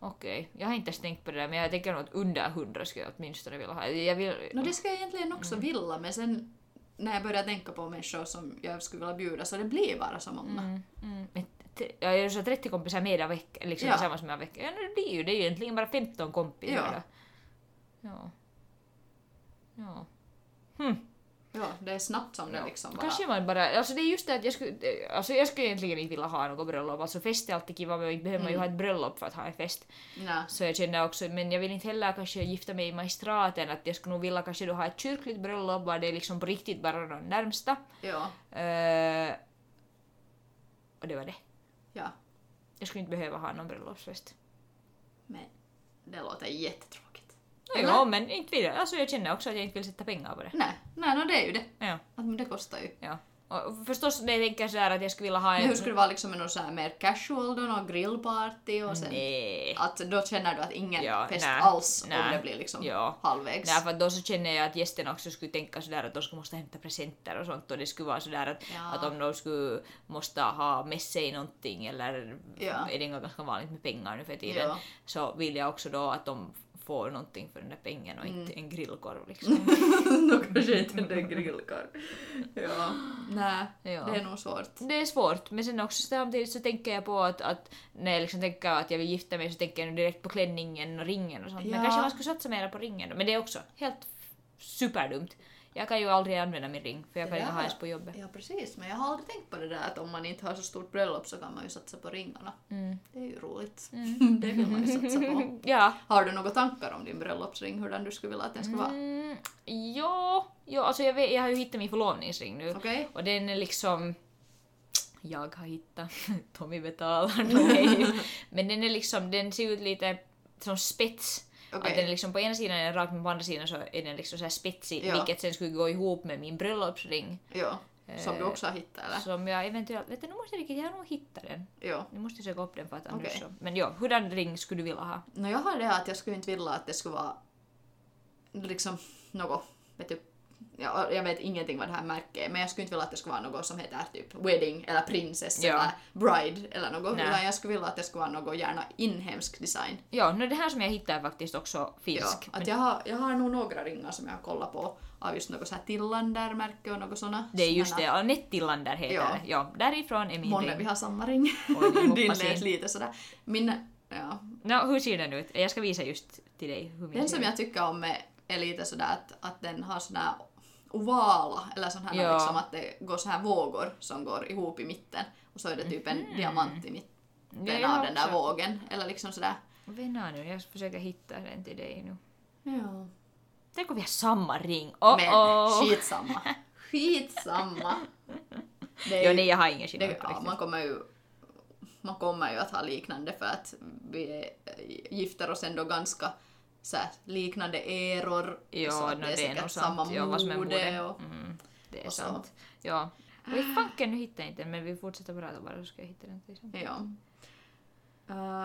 Speaker 3: Okej, jag har inte ens tänkt på det där men jag tänker nog att under 100 skulle jag åtminstone vilja ha. Jag vill...
Speaker 2: No det ska jag egentligen också
Speaker 3: Mm.
Speaker 2: vilja men sen när jag börjar tänka på människor som jag skulle vilja bjuda så det blir bara så många.
Speaker 3: Mm, men t- jag gör så 30 kompisar med en vecka, liksom
Speaker 2: Ja.
Speaker 3: tillsammans med en vecka. Ja, no, det, är ju, det är ju egentligen bara 15 kompisar.
Speaker 2: Ja.
Speaker 3: då. Ja. ja.
Speaker 2: Ja, det är snabbt
Speaker 3: No,
Speaker 2: som det liksom bara...
Speaker 3: Kanske man bara, alltså det är just det att jag skulle, alltså jag skulle egentligen inte vilja ha något bröllop, alltså fest är alltid kiva men inte behöver man ju ha ett bröllop för att ha en fest.
Speaker 2: Nä.
Speaker 3: Så jag känner också, men jag vill inte heller kanske gifta mig i magistraten, att jag skulle nog vilja kanske då ha ett kyrkligt bröllop, var det är liksom på riktigt bara de närmsta.
Speaker 2: Ja,
Speaker 3: Eh, och det var det.
Speaker 2: ja.
Speaker 3: Jag skulle inte behöva ha någon bröllopsfest.
Speaker 2: Men det låter jättetråkigt.
Speaker 3: No, jo, men inte vidare. Alltså jag känner också att jag inte vill sätta pengar på det.
Speaker 2: Nej, nej, no, det är ju det.
Speaker 3: Ja,
Speaker 2: Att men det kostar ju.
Speaker 3: ja. Och förstås, det tänker jag sådär att jag skulle vilja ha
Speaker 2: Men
Speaker 3: en...
Speaker 2: hur skulle det vara liksom med någon så här mer casual då, någon grillparty och sen...
Speaker 3: Nej.
Speaker 2: Att då känner du att ingen
Speaker 3: Ja,
Speaker 2: fest
Speaker 3: nä,
Speaker 2: alls om
Speaker 3: nä,
Speaker 2: det blir liksom
Speaker 3: ja.
Speaker 2: halvvägs.
Speaker 3: Nej, för att då så känner jag att gästerna också skulle tänka sådär att de skulle måste hämta presenter och sånt och det skulle vara sådär att,
Speaker 2: Ja.
Speaker 3: att om de skulle måste ha med sig någonting eller
Speaker 2: Ja.
Speaker 3: är det nog ganska vanligt med pengar nu för tiden
Speaker 2: Ja.
Speaker 3: så vill jag också då att de får någonting för den där pengen och inte en grillkorv liksom.
Speaker 2: då kanske inte det grillkar. ja. Nej,
Speaker 3: Ja.
Speaker 2: det är nog svårt.
Speaker 3: Det är svårt, men sen också samtidigt så tänker jag på att, att när jag liksom tänker att jag vill gifta mig så tänker jag nu direkt på klänningen och ringen och sånt.
Speaker 2: Ja.
Speaker 3: Men kanske man skulle satsa mer på ringen då. Men det är också helt f- superdumt. Jag kan ju aldrig använda min ring för jag kan
Speaker 2: Det
Speaker 3: inte
Speaker 2: där
Speaker 3: ha
Speaker 2: var-
Speaker 3: ens på jobbet.
Speaker 2: Ja precis, men jag har aldrig tänkt på det där att om man inte har så stort bröllop så kan man ju satsa på ringarna.
Speaker 3: Mm.
Speaker 2: Det är ju roligt. det vill man ju satsa på.
Speaker 3: Ja.
Speaker 2: Har du några tankar om din bröllopsring, hur den du skulle vilja att den ska vara?
Speaker 3: Mm, ja, ja alltså jag, vet, jag har ju hittat min förlovningsring nu.
Speaker 2: Okej?
Speaker 3: Och den är liksom... Jag har hittat. Tommy betalar. Nej. Men den är liksom, den ser ut lite som spets. Att
Speaker 2: Okej.
Speaker 3: den är liksom på ena sidan är den rak men på andra sidan så är den liksom så här spetsig.
Speaker 2: Ja.
Speaker 3: Vilket sen skulle gå ihop med min bröllopsring.
Speaker 2: Ja. Som
Speaker 3: Eh,
Speaker 2: du också har hittat eller?
Speaker 3: Som jag eventuellt, vet du nu måste jag riktigt, jag har nog hittat den.
Speaker 2: Ja.
Speaker 3: Nu måste jag söka upp den för att annars
Speaker 2: Okej.
Speaker 3: så. Men ja, hurdan ring skulle du vilja ha?
Speaker 2: No jag har det här att jag skulle inte vilja att det skulle vara liksom något, vet du, ja, jag vet ingenting vad det här märket är, men jag skulle inte vilja att det skulle vara något som heter typ wedding eller princess
Speaker 3: Ja.
Speaker 2: eller bride eller något,
Speaker 3: Nej.
Speaker 2: utan jag skulle vilja att det skulle vara något gärna inhemsk design.
Speaker 3: Ja, no, det här som jag hittade är faktiskt också
Speaker 2: Ja,
Speaker 3: finsk.
Speaker 2: att jag, har, jag har nog några ringar som jag har kollat på av just något så här Tillander-märke och något sådana.
Speaker 3: Det är just det, Anette Tillander heter
Speaker 2: Ja.
Speaker 3: det. Ja, därifrån är min
Speaker 2: Månne
Speaker 3: ring.
Speaker 2: vi har samma ring.
Speaker 3: Oj, jag hoppas
Speaker 2: Din
Speaker 3: inte.
Speaker 2: lät lite sådär. Min, ja,
Speaker 3: No, hur ser den ut? Jag ska visa just till dig hur min
Speaker 2: Den som
Speaker 3: ser ut.
Speaker 2: jag tycker om är, är lite sådär att, att den har sådär ovala, eller sån här
Speaker 3: Ja.
Speaker 2: liksom att det går så här vågor som går ihop i mitten och så är det typ en diamant i
Speaker 3: Ja,
Speaker 2: mitten
Speaker 3: Mm. jag
Speaker 2: av den där
Speaker 3: också.
Speaker 2: vågen. Eller liksom sådär.
Speaker 3: Vänta nu, jag försöker hitta den till dig nu.
Speaker 2: Ja.
Speaker 3: Tänk om vi har samma ring? Oh,
Speaker 2: Men
Speaker 3: oh.
Speaker 2: skitsamma. Skitsamma. Det
Speaker 3: Jo,
Speaker 2: ju-
Speaker 3: nej, jag har ingen skillnad
Speaker 2: det,
Speaker 3: på
Speaker 2: ja,
Speaker 3: riktigt.
Speaker 2: man kommer ju man kommer ju att ha liknande för att vi är, gifter oss ändå ganska så här, liknande eror.
Speaker 3: Ja,
Speaker 2: så att
Speaker 3: no, det är nog
Speaker 2: säkert
Speaker 3: sant.
Speaker 2: samma
Speaker 3: Ja, vad som är
Speaker 2: mode.
Speaker 3: mode.
Speaker 2: Och,
Speaker 3: Mm, det är
Speaker 2: och så. Ah.
Speaker 3: sant. Ja. Oj fanken, nu hittar jag inte den, men vi fortsätter prata bara så ska jag hitta den till sen.
Speaker 2: Ja.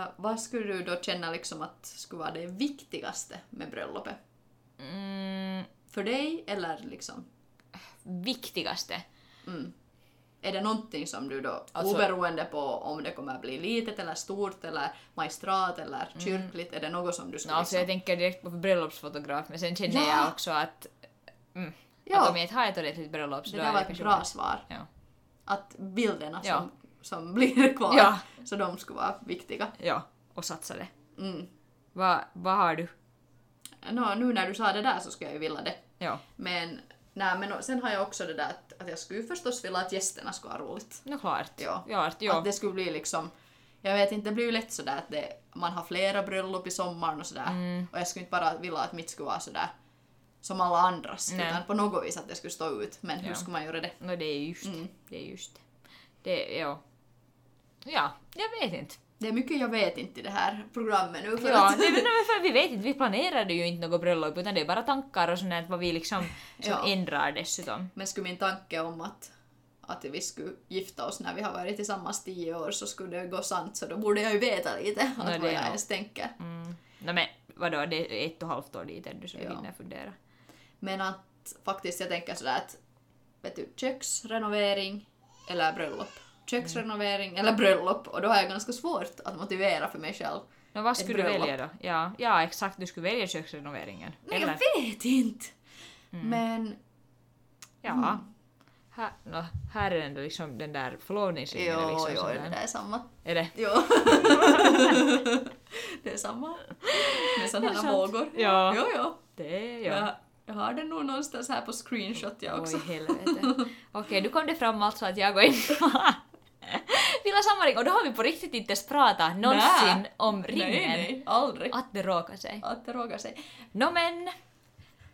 Speaker 2: Äh, vad skulle du då känna liksom att skulle vara det viktigaste med bröllopet?
Speaker 3: Mm,
Speaker 2: För dig eller liksom?
Speaker 3: viktigaste.
Speaker 2: Mm. Är det någonting som du då,
Speaker 3: Alltså-
Speaker 2: oberoende på om det kommer att bli litet eller stort eller magistrat eller kyrkligt, är det något som du
Speaker 3: No,
Speaker 2: skulle
Speaker 3: Mm. alltså jag
Speaker 2: liksom...
Speaker 3: tänker direkt på bröllopsfotograf men sen känner
Speaker 2: Ja.
Speaker 3: jag också att, mm, att
Speaker 2: Ja,
Speaker 3: om jag inte har ett ordentligt bröllop så
Speaker 2: det
Speaker 3: då
Speaker 2: där
Speaker 3: är
Speaker 2: var
Speaker 3: det
Speaker 2: ett
Speaker 3: kanske
Speaker 2: bra svar.
Speaker 3: Ja.
Speaker 2: Att bilderna
Speaker 3: Ja.
Speaker 2: som, som blir kvar,
Speaker 3: Ja.
Speaker 2: så de skulle vara viktiga.
Speaker 3: Ja, och satsa det.
Speaker 2: Mm.
Speaker 3: Vad vad har du?
Speaker 2: Nå, nu när du sa det där så skulle jag ju vilja det.
Speaker 3: Ja,
Speaker 2: Men, nej, men sen har jag också det där att, att jag skulle ju förstås vilja att gästerna skulle ha roligt.
Speaker 3: no klart.
Speaker 2: Ja.
Speaker 3: klart ja.
Speaker 2: Att det skulle bli liksom, jag vet inte, det blir ju lätt sådär att det, man har flera bröllop i sommaren och sådär.
Speaker 3: Mm.
Speaker 2: Och jag skulle inte bara vilja att mitt skulle vara sådär som alla andras,
Speaker 3: Nej.
Speaker 2: utan på något vis att det skulle stå ut. Men hur
Speaker 3: Ja.
Speaker 2: skulle man göra det?
Speaker 3: No det är just
Speaker 2: Mm.
Speaker 3: det. är just det. det. Ja. Ja, jag vet inte.
Speaker 2: Det är mycket jag vet inte i det här programmet nu. För
Speaker 3: Ja,
Speaker 2: att,
Speaker 3: nej, men för vi vet inte, vi planerade ju inte något bröllop utan det är bara tankar och sånt där, vad vi liksom som
Speaker 2: Ja.
Speaker 3: ändrar dessutom.
Speaker 2: men skulle min tanke om att, att vi skulle gifta oss när vi har varit tillsammans tio år så skulle det gå sant, så då borde jag ju veta lite att
Speaker 3: det
Speaker 2: vad
Speaker 3: är
Speaker 2: jag
Speaker 3: nog-
Speaker 2: ens tänker.
Speaker 3: Mm. No, men vadå, det är ett och halvt år dit ännu så vi
Speaker 2: Ja.
Speaker 3: hinner fundera.
Speaker 2: Men att faktiskt jag tänker sådär att vet du, köksrenovering eller bröllop.
Speaker 3: Mm.
Speaker 2: Köksrenovering eller bröllop och då har jag ganska svårt att motivera för mig själv.
Speaker 3: No, vad
Speaker 2: Ett
Speaker 3: skulle du
Speaker 2: bröllop.
Speaker 3: välja då? Ja, ja, exakt, du skulle välja köksrenoveringen.
Speaker 2: Nej, jag vet inte!
Speaker 3: Mm.
Speaker 2: Men
Speaker 3: Ja. Här, no, här är ändå liksom den där förlovningsringen.
Speaker 2: jo,
Speaker 3: liksom,
Speaker 2: jo,
Speaker 3: sån
Speaker 2: det
Speaker 3: där.
Speaker 2: där är samma.
Speaker 3: Eller?
Speaker 2: Jo. det är samma. Med
Speaker 3: Det är
Speaker 2: sådana
Speaker 3: sant.
Speaker 2: vågor.
Speaker 3: Ja.
Speaker 2: Jo, jo.
Speaker 3: Det är jag.
Speaker 2: Jag, jag har det nog någonstans här på screenshot jag också.
Speaker 3: Oj helvete. Okej, nu kom det fram alltså att jag och Emma vill sammanring och då har vi på riktigt inte ens pratat någonsin
Speaker 2: Nä.
Speaker 3: om ringen.
Speaker 2: Nej, nej, aldrig.
Speaker 3: Att det råkar sig.
Speaker 2: Att det råkar sig.
Speaker 3: No men,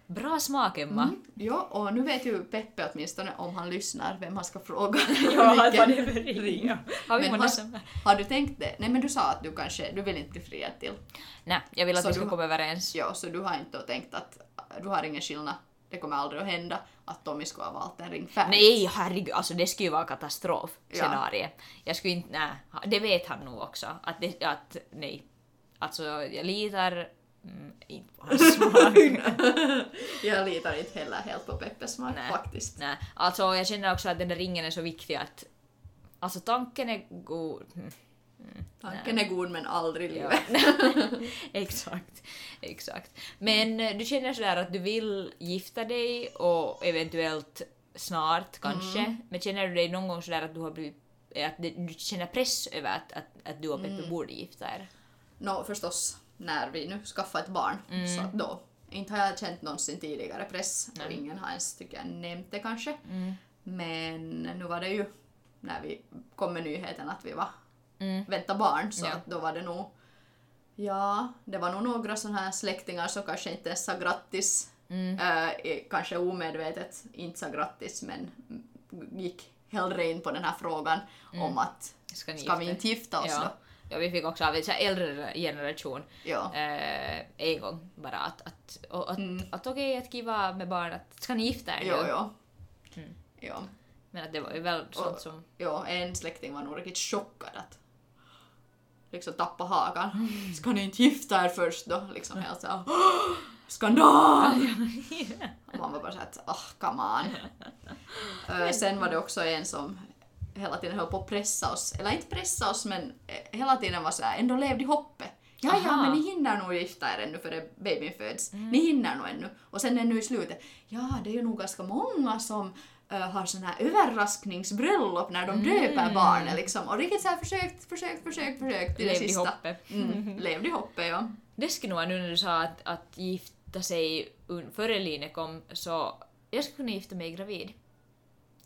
Speaker 3: bra smak Emma.
Speaker 2: Ja, och nu vet ju Peppe åtminstone om han lyssnar vem han ska fråga.
Speaker 3: vad
Speaker 2: Vilken-
Speaker 3: det för ring? Har vi
Speaker 2: Men
Speaker 3: många
Speaker 2: har-
Speaker 3: som...
Speaker 2: Har du tänkt det? Nej men du sa att du kanske, du vill inte bli friad till.
Speaker 3: Nej, jag vill att
Speaker 2: Så
Speaker 3: vi ska
Speaker 2: du-
Speaker 3: komma överens.
Speaker 2: Ja, så du har inte tänkt att du har ingen skillnad, det kommer aldrig att hända att Tommy skulle ha valt en ring färdigt.
Speaker 3: Nej herregud, alltså det skulle ju vara katastrof
Speaker 2: Ja.
Speaker 3: scenarie. Jag skulle inte, nej, det vet han nog också. Att, det, att nej. Alltså jag litar mm, inte på hans smak.
Speaker 2: Jag litar inte heller helt på Peppes smak
Speaker 3: Nej.
Speaker 2: faktiskt.
Speaker 3: Nej, alltså jag känner också att den där ringen är så viktig att... Alltså tanken är god. Mm,
Speaker 2: Tanken är god men aldrig
Speaker 3: ja.
Speaker 2: livet.
Speaker 3: exakt, exakt. Men eh, du känner sådär att du vill gifta dig och eventuellt snart kanske. Men känner du dig någon gång sådär att du har blivit eh, att det- du känner press över att, att, att du och Peppe borde gifta er.
Speaker 2: Nå förstås, när vi nu skaffar ett barn,
Speaker 3: Mm.
Speaker 2: så att då. Inte har jag känt någonsin tidigare press och ingen har ens, tycker jag, nämnt det kanske.
Speaker 3: Mm.
Speaker 2: Men nu var det ju när vi kom med nyheten att vi var
Speaker 3: Mm.
Speaker 2: vänta barn så
Speaker 3: Ja.
Speaker 2: att då var det nog Ja, det var nog några sådana här släktingar som kanske inte ens sa grattis.
Speaker 3: Mm.
Speaker 2: Äh, eh, kanske omedvetet inte sa grattis men mm, gick hellre in på den här frågan om att
Speaker 3: Ska ni
Speaker 2: ska
Speaker 3: gifta
Speaker 2: vi
Speaker 3: er?
Speaker 2: inte gifta oss
Speaker 3: Mm. ja.
Speaker 2: då?
Speaker 3: ja, vi fick också av en så här äldre generation
Speaker 2: Ja.
Speaker 3: eh, en gång bara att, att, och, att,
Speaker 2: Mm.
Speaker 3: att okej att kiva med barn att ska ni gifta er
Speaker 2: Jo,
Speaker 3: nu?
Speaker 2: jo. Jo.
Speaker 3: Men att det var ju väl sånt
Speaker 2: Och-
Speaker 3: som...
Speaker 2: jo, en släkting var nog riktigt chockad att liksom tappa hakan. Ska ni inte gifta er först då? Liksom helt såhär "Åh, skandal! Och man var bara såhär att ah, come on. Ö, Sen var det också en som hela tiden höll på att pressa oss, eller inte pressa oss men eh, hela tiden var såhär, ändå levde i hoppet. Ja, ja,
Speaker 3: Aha.
Speaker 2: men ni hinner nog gifta er ännu före babyn föds. Ni hinner nog ännu. Och sen ännu i slutet, ja, det är ju nog ganska många som eh, har sån här överraskningsbröllop när de döper barnet liksom. Och riktigt såhär försökt, försökt, försökt, försökt till det
Speaker 3: Levde i
Speaker 2: sista.
Speaker 3: hoppet.
Speaker 2: Mm, levde i hoppet, ja.
Speaker 3: Det skulle nog vara nu när du sa att, att gifta sig un- före Line kom så jag skulle kunna gifta mig gravid.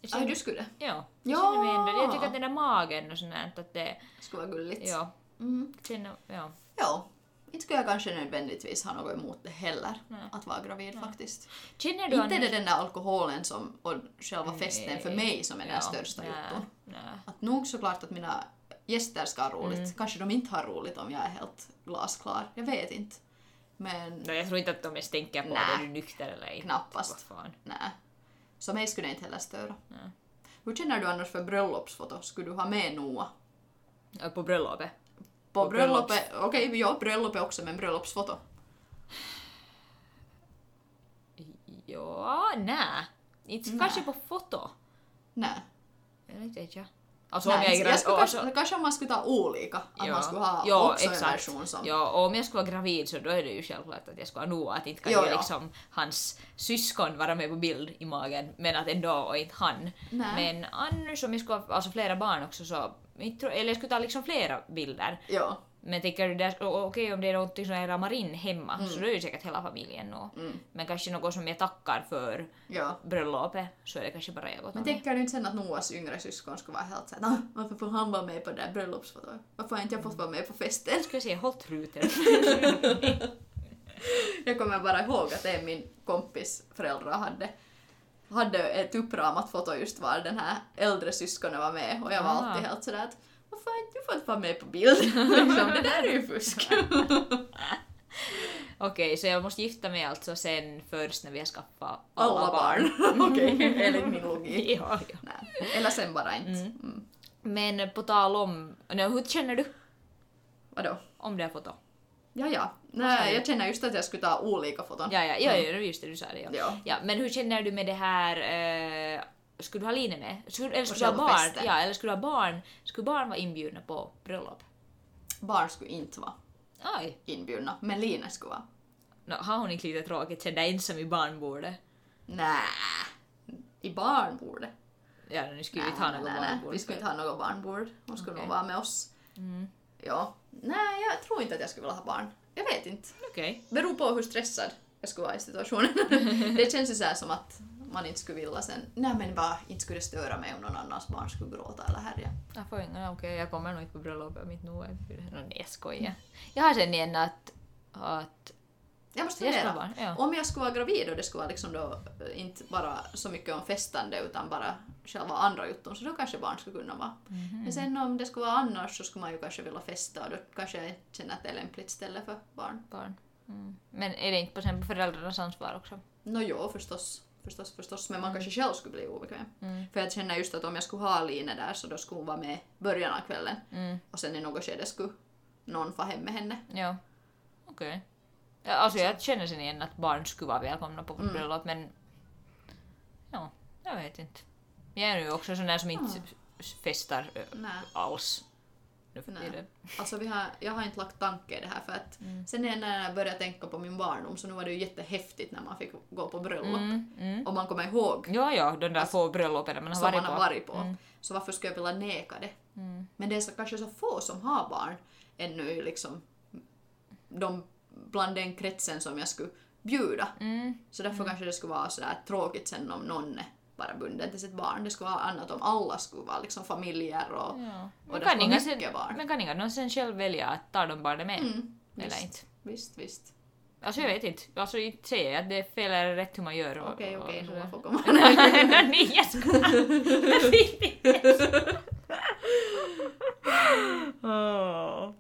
Speaker 3: Jag
Speaker 2: Aj,
Speaker 3: känner-
Speaker 2: du skulle.
Speaker 3: Ja.
Speaker 2: Ja!
Speaker 3: Jag, känner mig ändå, jag tycker att den där magen och sånt där, att det...
Speaker 2: Skulle vara gulligt.
Speaker 3: Ja.
Speaker 2: Mm.
Speaker 3: Känner, ja.
Speaker 2: Ja, inte skulle jag kanske nödvändigtvis ha något emot det heller,
Speaker 3: Nej.
Speaker 2: att vara gravid faktiskt.
Speaker 3: Känner du
Speaker 2: Inte är det den där alkoholen som, och själva festen för
Speaker 3: Nej.
Speaker 2: mig som är den
Speaker 3: Ja,
Speaker 2: största
Speaker 3: nä,
Speaker 2: jutton.
Speaker 3: nä.
Speaker 2: Att nog såklart att mina gäster ska ha roligt.
Speaker 3: Mm.
Speaker 2: Kanske de inte har roligt om jag är helt glasklar, jag vet inte. Men
Speaker 3: No, jag tror inte att de ens tänker på
Speaker 2: Nä.
Speaker 3: om du är nykter eller inte. Vad
Speaker 2: knappast.
Speaker 3: fan.
Speaker 2: Nej. Så mig skulle det inte heller störa.
Speaker 3: Nej.
Speaker 2: Hur känner du annars för bröllopsfoto? Skulle du ha med Noah
Speaker 3: Ja, På Äh, bröllopet.
Speaker 2: På
Speaker 3: På bröllops.
Speaker 2: bröllopet, okej, ja, bröllopet också, men bröllopsfoto.
Speaker 3: Ja, nä. Inte
Speaker 2: Nä.
Speaker 3: kanske på foto.
Speaker 2: Nej.
Speaker 3: Jag vet inte. Alltså om
Speaker 2: Nej,
Speaker 3: jag är
Speaker 2: jag, skulle
Speaker 3: gravid.
Speaker 2: kanske, kanske om man skulle ta olika, att man skulle ha
Speaker 3: ja,
Speaker 2: också en
Speaker 3: exakt.
Speaker 2: version som...
Speaker 3: Ja, och om jag skulle vara gravid så då är det ju självklart att jag skulle ha Noah. Att inte kan
Speaker 2: Jo,
Speaker 3: ju
Speaker 2: ja.
Speaker 3: liksom hans syskon vara med på bild i magen, men att ändå och inte han.
Speaker 2: Nej.
Speaker 3: Men annars om jag skulle ha alltså, flera barn också så, inte tror- eller jag skulle ta liksom flera bilder.
Speaker 2: Ja.
Speaker 3: Men tänker du där, och- och okej om det är någonting som jag ramar in hemma så då är ju säkert hela familjen nog.
Speaker 2: Mm.
Speaker 3: Men kanske något som jag tackar för
Speaker 2: ja.
Speaker 3: bröllopet så är det kanske bara jag och
Speaker 2: Men
Speaker 3: Tommy.
Speaker 2: tänker du inte sen att Noas yngre syskon skulle vara helt såhär, "Nå, varför får han vara med på det där bröllopsfotot? Varför har inte jag fått vara med på festen?
Speaker 3: Ska jag säga håll truten?
Speaker 2: Jag kommer bara ihåg att en min kompis föräldrar hade, hade ett uppramat foto just var den här äldre syskonen var med och jag var
Speaker 3: Ah.
Speaker 2: alltid helt sådär att varför har inte du fått vara med på bild? liksom, det där är ju fusk.
Speaker 3: Okej, så jag måste gifta mig alltså sen först när vi har skaffat alla,
Speaker 2: Alla barn. Okej, enligt min logik.
Speaker 3: ja, ja.
Speaker 2: Nej. Eller sen bara inte. Mm.
Speaker 3: Men på tal om... Nej, hur känner du
Speaker 2: Vadå?
Speaker 3: om det här fotot?
Speaker 2: Ja, ja. Nej, jag känner just att jag skulle ta olika foton.
Speaker 3: Ja, ja, ja, ja just det, du sa det. Ja.
Speaker 2: Mm. Ja.
Speaker 3: men hur känner du med det här... Eh, skulle du ha Line med? Skulle, eller skulle du ha
Speaker 2: själva
Speaker 3: barn?
Speaker 2: festen.
Speaker 3: Ja, eller skulle du ha barn? Skulle barn vara inbjudna på bröllop?
Speaker 2: Barn skulle inte vara
Speaker 3: Aj.
Speaker 2: inbjudna, men Lina skulle vara.
Speaker 3: Nå, har hon inte lite tråkigt? Känner jag ensam i barnbordet?
Speaker 2: Nä. I barnbordet.
Speaker 3: Ja, nu skulle vi inte ha något barnbord.
Speaker 2: Vi skulle inte ha något barnbord. Hon skulle
Speaker 3: Okej.
Speaker 2: nog vara med oss.
Speaker 3: Mm.
Speaker 2: Ja. Nej, jag tror inte att jag skulle vilja ha barn. Jag vet inte.
Speaker 3: Okej.
Speaker 2: Beror på hur stressad jag skulle vara i situationen. det känns ju så här som att man inte skulle vilja sen. Nej men bara, inte skulle det störa mig om någon annans barn skulle gråta eller härja.
Speaker 3: Jag får inga, okej jag kommer nog inte på bröllopet mitt nu. är det- Nå, nej, jag skojar. Jag har sen igen att... att
Speaker 2: Jag måste
Speaker 3: jag ska
Speaker 2: fundera.
Speaker 3: vara, ja.
Speaker 2: Om jag skulle vara gravid och det skulle vara liksom då eh, inte bara så mycket om festande utan bara själva andra jutton så då kanske barn skulle kunna vara.
Speaker 3: Mhm.
Speaker 2: Men sen om det skulle vara annars så skulle man ju kanske vilja festa och då kanske jag inte känner att det är lämpligt ställe för barn.
Speaker 3: Barn. Mm. Men är det inte på sen på föräldrarnas ansvar också?
Speaker 2: No jo, förstås. Förstås, förstås. Men man
Speaker 3: Mm.
Speaker 2: kanske själv skulle bli obekväm. För jag känner just att om jag skulle ha Aline där så då skulle hon vara med början av kvällen
Speaker 3: Mm.
Speaker 2: och sen i något skede skulle någon få hem med henne.
Speaker 3: Ja. Okej. Ja, alltså jag känner sen igen att barn skulle vara välkomna på vårt bröllop men... Ja, jag vet inte. Jag är nu också sån där som inte
Speaker 2: Ja.
Speaker 3: s- festar ö,
Speaker 2: Nä.
Speaker 3: alls. Nu för
Speaker 2: Nej.
Speaker 3: tiden.
Speaker 2: Alltså vi har, jag har inte lagt tanke i det här för att
Speaker 3: Mm.
Speaker 2: sen när jag började tänka på min barndom så nu var det ju jättehäftigt när man fick gå på bröllop
Speaker 3: Mm, mm.
Speaker 2: och man kommer ihåg
Speaker 3: Ja, ja, de där få bröllopen man har
Speaker 2: Alltså, som
Speaker 3: varit
Speaker 2: man
Speaker 3: på.
Speaker 2: har varit på.
Speaker 3: Mm.
Speaker 2: Så varför skulle jag vilja neka det? Men det är så, kanske så få som har barn ännu liksom de, bland den kretsen som jag skulle bjuda.
Speaker 3: Mm.
Speaker 2: Så därför kanske det skulle vara sådär tråkigt sen om någon är bara bunden till sitt barn. Det skulle vara annat om alla skulle vara liksom familjer och,
Speaker 3: Ja.
Speaker 2: och det
Speaker 3: Men kan
Speaker 2: skulle vara
Speaker 3: inga sen,
Speaker 2: mycket barn.
Speaker 3: men kan inga någon sen själv välja att ta de barnen med
Speaker 2: Mm,
Speaker 3: eller
Speaker 2: visst.
Speaker 3: inte?
Speaker 2: Visst, visst.
Speaker 3: Alltså jag vet inte. Alltså inte säger jag att det är fel eller rätt hur man gör. och-
Speaker 2: Okej,
Speaker 3: och-
Speaker 2: okej,
Speaker 3: och
Speaker 2: Noa
Speaker 3: sådär.
Speaker 2: får komma.
Speaker 3: Nej, jag skojar! Jag fick inte. Åh.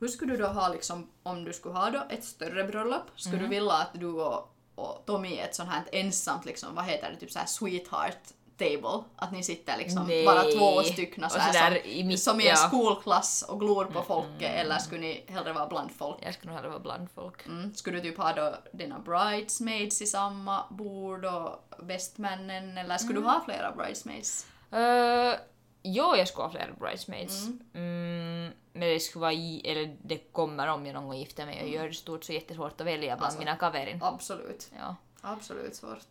Speaker 2: Hur skulle du då ha, liksom, om du skulle ha då ett större bröllop, skulle
Speaker 3: Mm.
Speaker 2: du vilja att du och, och Tommy är ett sånt här ensamt, liksom, vad heter det, typ så här sweetheart table? Att ni sitter liksom
Speaker 3: Nej.
Speaker 2: bara två stycken
Speaker 3: Och
Speaker 2: så här
Speaker 3: sådär
Speaker 2: som,
Speaker 3: i mitt-
Speaker 2: som i en
Speaker 3: ja. Mm,
Speaker 2: skolklass och glor på folket, eller skulle ni hellre vara bland folk?
Speaker 3: Jag skulle nog hellre vara bland folk.
Speaker 2: Mm. Skulle du typ ha då dina bridesmaids i samma bord och bestmännen, eller skulle
Speaker 3: Mm.
Speaker 2: du ha flera bridesmaids?
Speaker 3: Uh, jo, jag skulle ha flera bridesmaids. Mm, men det skulle vara, i- eller det kommer om jag någon gång gifter mig och gör det stort så jättesvårt att välja bland
Speaker 2: Mm. Alltså.
Speaker 3: mina kaverin.
Speaker 2: Absolut,
Speaker 3: Ja.
Speaker 2: absolut svårt.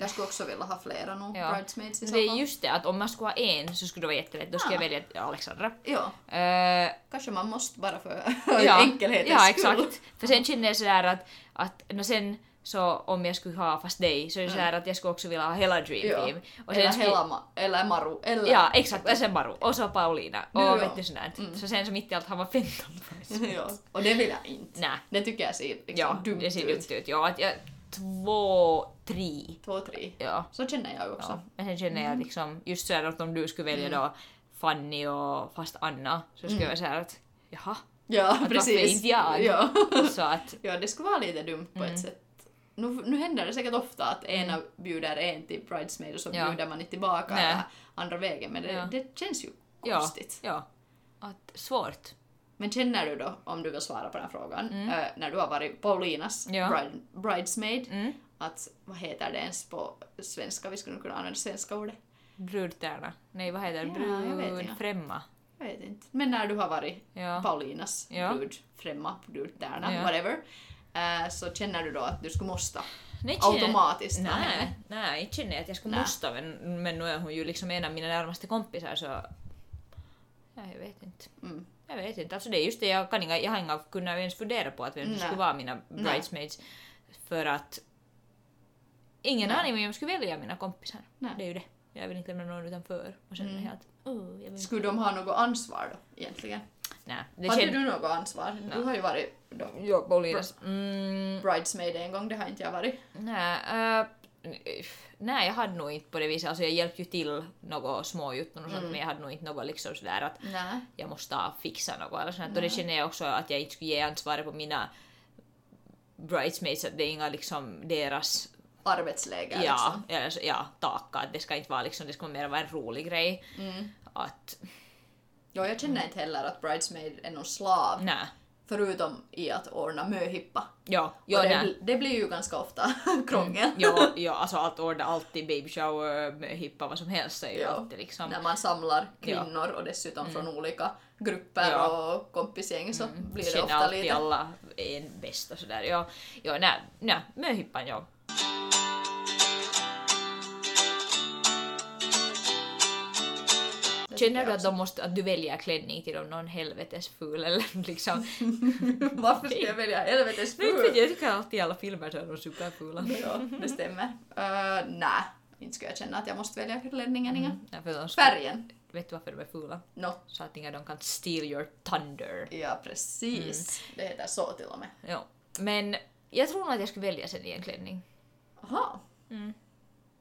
Speaker 2: Jag skulle också vilja ha flera nog,
Speaker 3: Ja.
Speaker 2: bridesmaids i
Speaker 3: Det är
Speaker 2: samma.
Speaker 3: just det att om man skulle ha en så skulle det vara jättelätt. Då skulle
Speaker 2: Ah.
Speaker 3: jag välja Alexandra.
Speaker 2: Ja.
Speaker 3: Eh,
Speaker 2: Kanske man måste bara för
Speaker 3: ja,
Speaker 2: enkelhetens
Speaker 3: Ja,
Speaker 2: skull.
Speaker 3: exakt. För sen känner jag sådär att, att no sen så om jag skulle ha fast dig så är det
Speaker 2: Mm.
Speaker 3: sådär att jag skulle också vilja ha hela Dream
Speaker 2: Ja.
Speaker 3: Team. Och sen
Speaker 2: Eller,
Speaker 3: skulle-
Speaker 2: helama, eller Maru. Eller...
Speaker 3: Ja, exakt. Och sen Maru. Och så Paulina. Och
Speaker 2: Ja. Mm.
Speaker 3: vet du sådär. Så sen så mitt i allt har man 15 price.
Speaker 2: ja. Och det vill jag inte.
Speaker 3: Nä.
Speaker 2: Det tycker jag ser liksom
Speaker 3: Ja,
Speaker 2: dumt
Speaker 3: det ser
Speaker 2: ut.
Speaker 3: dumt ut. Ja, att jag... Två, tre.
Speaker 2: Två, tre.
Speaker 3: Ja.
Speaker 2: Så känner jag också.
Speaker 3: ja. Men sen känner
Speaker 2: Mm.
Speaker 3: jag liksom, just sådär att om du skulle välja då Fanny och fast Anna så
Speaker 2: Mm.
Speaker 3: skulle jag vara såhär att jaha.
Speaker 2: Ja,
Speaker 3: varför
Speaker 2: precis.
Speaker 3: inte jag? Mm.
Speaker 2: Ja.
Speaker 3: Så att
Speaker 2: ja, det skulle vara lite dumt på ett sätt. nu, nu händer det säkert ofta att ena bjuder en till bridesmaid och så
Speaker 3: Ja.
Speaker 2: bjuder man inte tillbaka
Speaker 3: Nej.
Speaker 2: eller andra vägen, men det,
Speaker 3: Ja.
Speaker 2: det känns ju
Speaker 3: Ja,
Speaker 2: konstigt.
Speaker 3: ja. Att, svårt.
Speaker 2: Men känner du då, om du vill svara på den här frågan, eh, när du har varit Paulinas
Speaker 3: Mm. Ja.
Speaker 2: bride, bridesmaid,
Speaker 3: Mm.
Speaker 2: att vad heter det ens på svenska? Vi skulle kunna använda svenska ordet.
Speaker 3: Brudtärna. Nej, vad heter det?
Speaker 2: Ja, jag vet inte.
Speaker 3: Brudfrämma.
Speaker 2: Jag vet inte. Men när du har varit
Speaker 3: Ja.
Speaker 2: Paulinas
Speaker 3: Ja.
Speaker 2: brud, främma, brudtärna,
Speaker 3: Ja.
Speaker 2: whatever, eh, så känner du då att du skulle måste
Speaker 3: Nej,
Speaker 2: automatiskt ta
Speaker 3: Nej,
Speaker 2: henne?
Speaker 3: nej, inte känner jag att jag skulle
Speaker 2: Nej.
Speaker 3: måste men, men nu är hon ju liksom en av mina närmaste kompisar så... Ja, jag vet inte.
Speaker 2: Mm.
Speaker 3: Jag vet inte. Alltså det är just det, jag, kan inga, jag har inga kunnat ens fundera på att vem som
Speaker 2: Nej.
Speaker 3: skulle vara mina bridesmaids. För att... Ingen
Speaker 2: Nej.
Speaker 3: aning om jag skulle välja mina kompisar.
Speaker 2: Nej.
Speaker 3: Det är ju det. Jag vill inte lämna någon utanför. Och sen är jag att... Oh, jag vill inte.
Speaker 2: Skulle de ha något ansvar då egentligen?
Speaker 3: Nej, det
Speaker 2: Hade
Speaker 3: känns...
Speaker 2: du något ansvar? Du har ju varit då,
Speaker 3: Ja, Paulinas. Mm,
Speaker 2: bridesmaid en gång, det har inte jag varit.
Speaker 3: Nej, äh, nej, jag hade nog inte på det viset. Alltså jag hjälpte ju till något småjutton och sånt men jag hade nog inte något liksom sådär att
Speaker 2: Nej.
Speaker 3: jag måste fixa något eller sånt. Och det känner jag också att jag inte skulle ge ansvaret på mina bridesmaids att det är inga liksom deras
Speaker 2: Arbetsläge
Speaker 3: ja,
Speaker 2: liksom.
Speaker 3: eller, så- ja, taka. Att det ska inte vara liksom, det ska mer vara en rolig grej. Att
Speaker 2: Ja, jag känner inte heller att bridesmaid är någon slav.
Speaker 3: nej.
Speaker 2: Förutom i att ordna möhippa.
Speaker 3: Ja,
Speaker 2: Ja,
Speaker 3: ja,
Speaker 2: det,
Speaker 3: nej.
Speaker 2: bl- det blir ju ganska ofta krångel.
Speaker 3: Ja, ja, alltså allt ordna alltid baby shower, hippa, vad som helst är ju
Speaker 2: Ja.
Speaker 3: alltid liksom. Mm.
Speaker 2: När man samlar kvinnor och dessutom från olika grupper
Speaker 3: Ja. Mm.
Speaker 2: och kompisgäng så blir det
Speaker 3: Känner
Speaker 2: ofta
Speaker 3: alltid
Speaker 2: lite...
Speaker 3: alla en bäst och sådär. Ja, ja nä, nä, möhippan ja.
Speaker 2: Det tycker
Speaker 3: Känner
Speaker 2: jag
Speaker 3: du att, de måste, att du väljer klänning till dem, någon helvetesful eller liksom?
Speaker 2: också. Varför ska jag välja helvetes
Speaker 3: Nu
Speaker 2: fru?
Speaker 3: vet jag, jag tycker alltid i alla filmer så är de superfula.
Speaker 2: ja, det stämmer. Uh, Nej, inte skulle jag känna att jag måste välja
Speaker 3: Mm.
Speaker 2: klänningen igen.
Speaker 3: Nej, för de skulle-
Speaker 2: Färgen?
Speaker 3: Vet du varför de är fula?
Speaker 2: No.
Speaker 3: Så att inga de kan steal your thunder.
Speaker 2: Ja, precis.
Speaker 3: Mm.
Speaker 2: Det heter så till och med.
Speaker 3: Ja. Men jag tror nog att jag skulle välja sen i en klänning.
Speaker 2: Aha.
Speaker 3: Mm.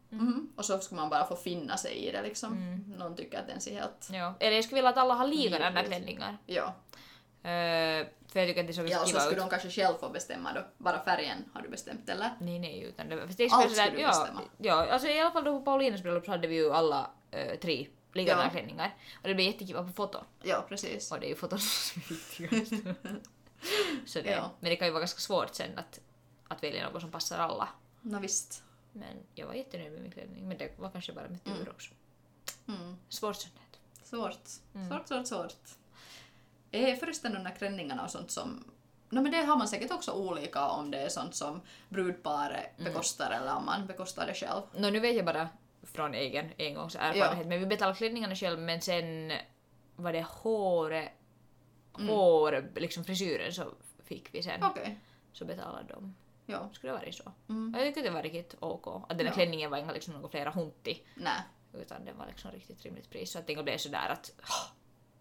Speaker 2: Mhm. Och så ska man bara få finna sig i det liksom.
Speaker 3: Mm.
Speaker 2: Någon tycker att den ser helt...
Speaker 3: Ja. Eller jag skulle vilja att alla har likadana
Speaker 2: Vidrigt.
Speaker 3: klänningar.
Speaker 2: Ja.
Speaker 3: Öö, för jag tycker att det såg
Speaker 2: Ja, och så
Speaker 3: kiva ut.
Speaker 2: skulle de kanske själv få bestämma då. Bara färgen har du bestämt eller?
Speaker 3: Nej, nej, utan det var... Fast det är
Speaker 2: Allt
Speaker 3: Allt sådär,
Speaker 2: skulle du
Speaker 3: ja,
Speaker 2: bestämma.
Speaker 3: ja, alltså i alla fall då på Paulinas bröllop så hade vi ju alla eh, tre likadana
Speaker 2: Ja.
Speaker 3: klänningar. Och det blev jättekiva på foto.
Speaker 2: Ja, precis.
Speaker 3: Och det är ju foton som är viktigast. så det,
Speaker 2: Ja.
Speaker 3: Men det kan ju vara ganska svårt sen att, att välja något som passar alla.
Speaker 2: No visst.
Speaker 3: Men jag var jättenöjd med min klänning. Men det var kanske bara med tur också.
Speaker 2: Mm.
Speaker 3: Svårt som det är.
Speaker 2: Svårt. Svårt, svårt, svårt. Är förresten de där klänningarna och sånt som... No men det har man säkert också olika om det är sånt som brudparet bekostar eller om man bekostar det själv.
Speaker 3: Nå, nu vet jag bara från egen engångserfarenhet. Men vi betalade klänningarna själv men sen var det håret,
Speaker 2: Mm.
Speaker 3: hår, liksom frisyren så fick vi sen.
Speaker 2: Okej.
Speaker 3: Så betalade de.
Speaker 2: Ja.
Speaker 3: skulle det varit så.
Speaker 2: Mm.
Speaker 3: Jag tycker det var riktigt OK. Att den här
Speaker 2: Ja.
Speaker 3: klänningen var inga liksom några flera hunti,
Speaker 2: Nä.
Speaker 3: utan den var liksom riktigt rimligt pris. Så att det inte blev sådär att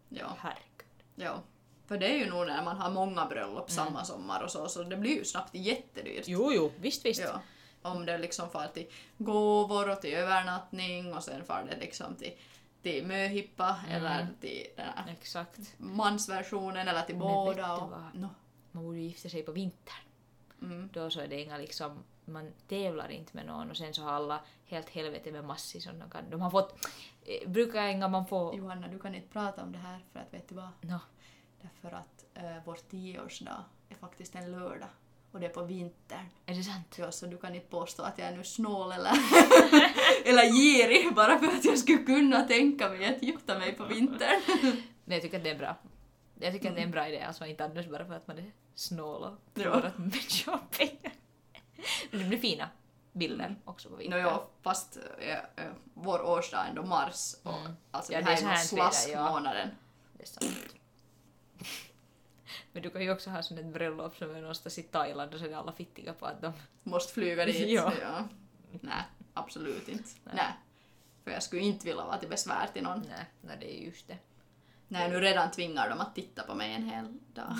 Speaker 2: Ja.
Speaker 3: herregud.
Speaker 2: ja. För det är ju nog när man har många bröllop samma sommar och så, så det blir ju snabbt jättedyrt.
Speaker 3: Jo, jo, visst, visst.
Speaker 2: Ja. Om det liksom far till gåvor och till övernattning och sen far det liksom till, till möhippa eller till den här
Speaker 3: Exakt.
Speaker 2: mansversionen eller till
Speaker 3: Men vet
Speaker 2: båda.
Speaker 3: du
Speaker 2: Och,
Speaker 3: vad?
Speaker 2: no.
Speaker 3: Man borde ju gifta sig på vintern.
Speaker 2: mm.
Speaker 3: Då så är det inga liksom, man tävlar inte med någon och no sen så har alla helt helvete med massor som de kan. De har fått, eh, brukar inga man få,
Speaker 2: Johanna, du kan inte prata om det här för att vet du vad?
Speaker 3: no,
Speaker 2: Därför att äh, vår tioårsdag är faktiskt en lördag och det är på vintern.
Speaker 3: är det sant?
Speaker 2: Ja, så du kan inte påstå att jag är nu snål eller, eller girig bara för att jag skulle kunna tänka mig att gifta mig på vintern.
Speaker 3: Men jag tycker att det är bra. Jag tycker att det är en bra idé, alltså inte annars bara för att man är snål och
Speaker 2: Ja.
Speaker 3: tror att människor har pengar. Men det blir fina bilder också på
Speaker 2: No
Speaker 3: vintern.
Speaker 2: jo, fast äh, äh, vår årsdag är ändå mars och
Speaker 3: Mm.
Speaker 2: alltså
Speaker 3: Ja,
Speaker 2: det
Speaker 3: det är
Speaker 2: här är
Speaker 3: så
Speaker 2: nog
Speaker 3: här tider, ja.
Speaker 2: slaskmånaden.
Speaker 3: Det är sant. Men du kan ju också ha sån ett bröllop som är någonstans i Thailand och så är alla fittiga på att de...
Speaker 2: Måste flyga dit.
Speaker 3: Ja.
Speaker 2: Nej, absolut inte.
Speaker 3: Nej.
Speaker 2: Nej. För jag skulle inte vilja vara till besvär till någon.
Speaker 3: Nej, nej det är just det.
Speaker 2: Nej, nu redan tvingar de att titta på mig en hel dag.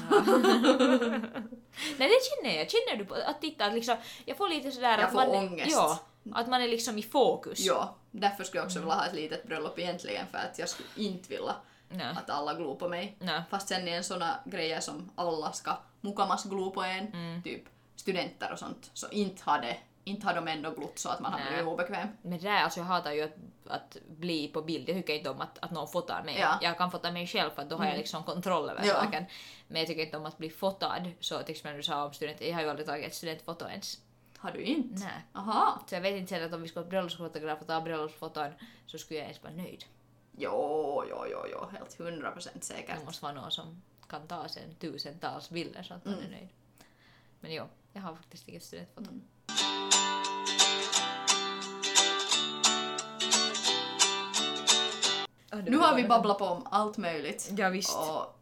Speaker 3: Nej det känner jag, känner du på att titta att liksom, jag får lite sådär
Speaker 2: Jag
Speaker 3: att
Speaker 2: får
Speaker 3: man...
Speaker 2: ångest.
Speaker 3: Ja, att man är liksom i fokus.
Speaker 2: Ja, därför skulle jag också vilja ha ett litet bröllop egentligen för att jag skulle inte vilja
Speaker 3: Nej.
Speaker 2: att alla glor på mig.
Speaker 3: Nej. Mm.
Speaker 2: Fast sen är en såna grejer som alla ska mukamas glo på en, typ studenter och sånt, så inte hade, inte hade de ändå blott så att man hade
Speaker 3: Nej.
Speaker 2: blivit obekväm.
Speaker 3: Men det där, alltså jag hatar ju att, att bli på bild. Jag tycker inte om att, att någon fotar mig.
Speaker 2: Ja. Mm.
Speaker 3: Jag kan fota mig själv för att då har jag liksom kontroll över
Speaker 2: Ja.
Speaker 3: saken. Men jag tycker inte om att bli fotad. Så till exempel du sa om student, jag har ju aldrig tagit ett studentfoto ens.
Speaker 2: Har du inte?
Speaker 3: Nej.
Speaker 2: Aha.
Speaker 3: Så jag vet inte heller att om vi skulle ha bröllopsfotograf och ta bröllopsfoton så skulle jag ens vara nöjd.
Speaker 2: Jo, jo, jo, jo, helt hundra procent säkert.
Speaker 3: Det måste vara någon som kan ta sen tusentals bilder så att man
Speaker 2: Mm.
Speaker 3: är nöjd. Men jo, jag har faktiskt inget studentfoto. Ah, det
Speaker 2: Nu
Speaker 3: var
Speaker 2: har vi
Speaker 3: bara-
Speaker 2: babblat på om allt möjligt.
Speaker 3: Ja, visst.
Speaker 2: Och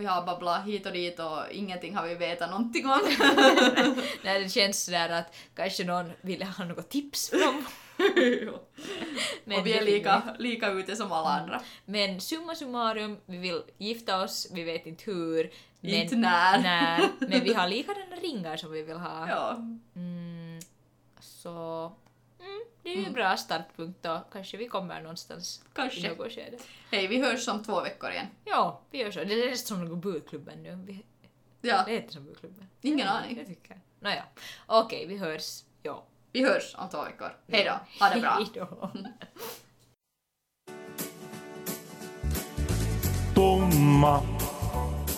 Speaker 2: vi har babblat hit och dit och ingenting har vi vetat någonting om.
Speaker 3: Nej, det känns sådär att kanske någon ville ha något tips från
Speaker 2: och vi
Speaker 3: det Mm.
Speaker 2: är
Speaker 3: vill
Speaker 2: lika, lika ute som alla andra.
Speaker 3: vi. Men summa summarum, vi vill gifta oss, vi vet inte hur. Men,
Speaker 2: Inte när.
Speaker 3: när. Men vi har likadana ringar som vi vill ha.
Speaker 2: Ja.
Speaker 3: Mm, så mm, det är ju en bra startpunkt då. Kanske vi kommer någonstans i
Speaker 2: Kanske.
Speaker 3: något skede.
Speaker 2: Hej, vi hörs om två veckor igen.
Speaker 3: Ja, vi gör så. Det är nästan som någon bokklubben nu. Vi,
Speaker 2: Ja,
Speaker 3: Det heter som bokklubben.
Speaker 2: Ingen
Speaker 3: Ja,
Speaker 2: aning.
Speaker 3: Jag tycker. Nåja, okej, vi hörs. Ja.
Speaker 2: vi hörs om två veckor. Hej då, ha det bra.
Speaker 3: Hejdå.
Speaker 1: Tomma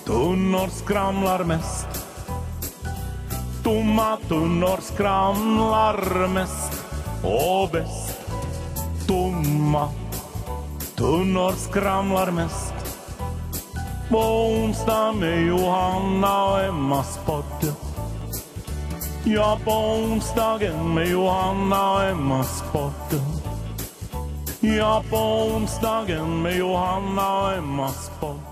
Speaker 1: tunnor skramlar mest Tomma tunnor skramlar mest och bäst Tomma tunnor skramlar mest På onsdag med Johanna och Emmas podd Ja, på onsdagen med Johanna och Emmas podd Ja, på onsdagen med Johanna och Emmas podd.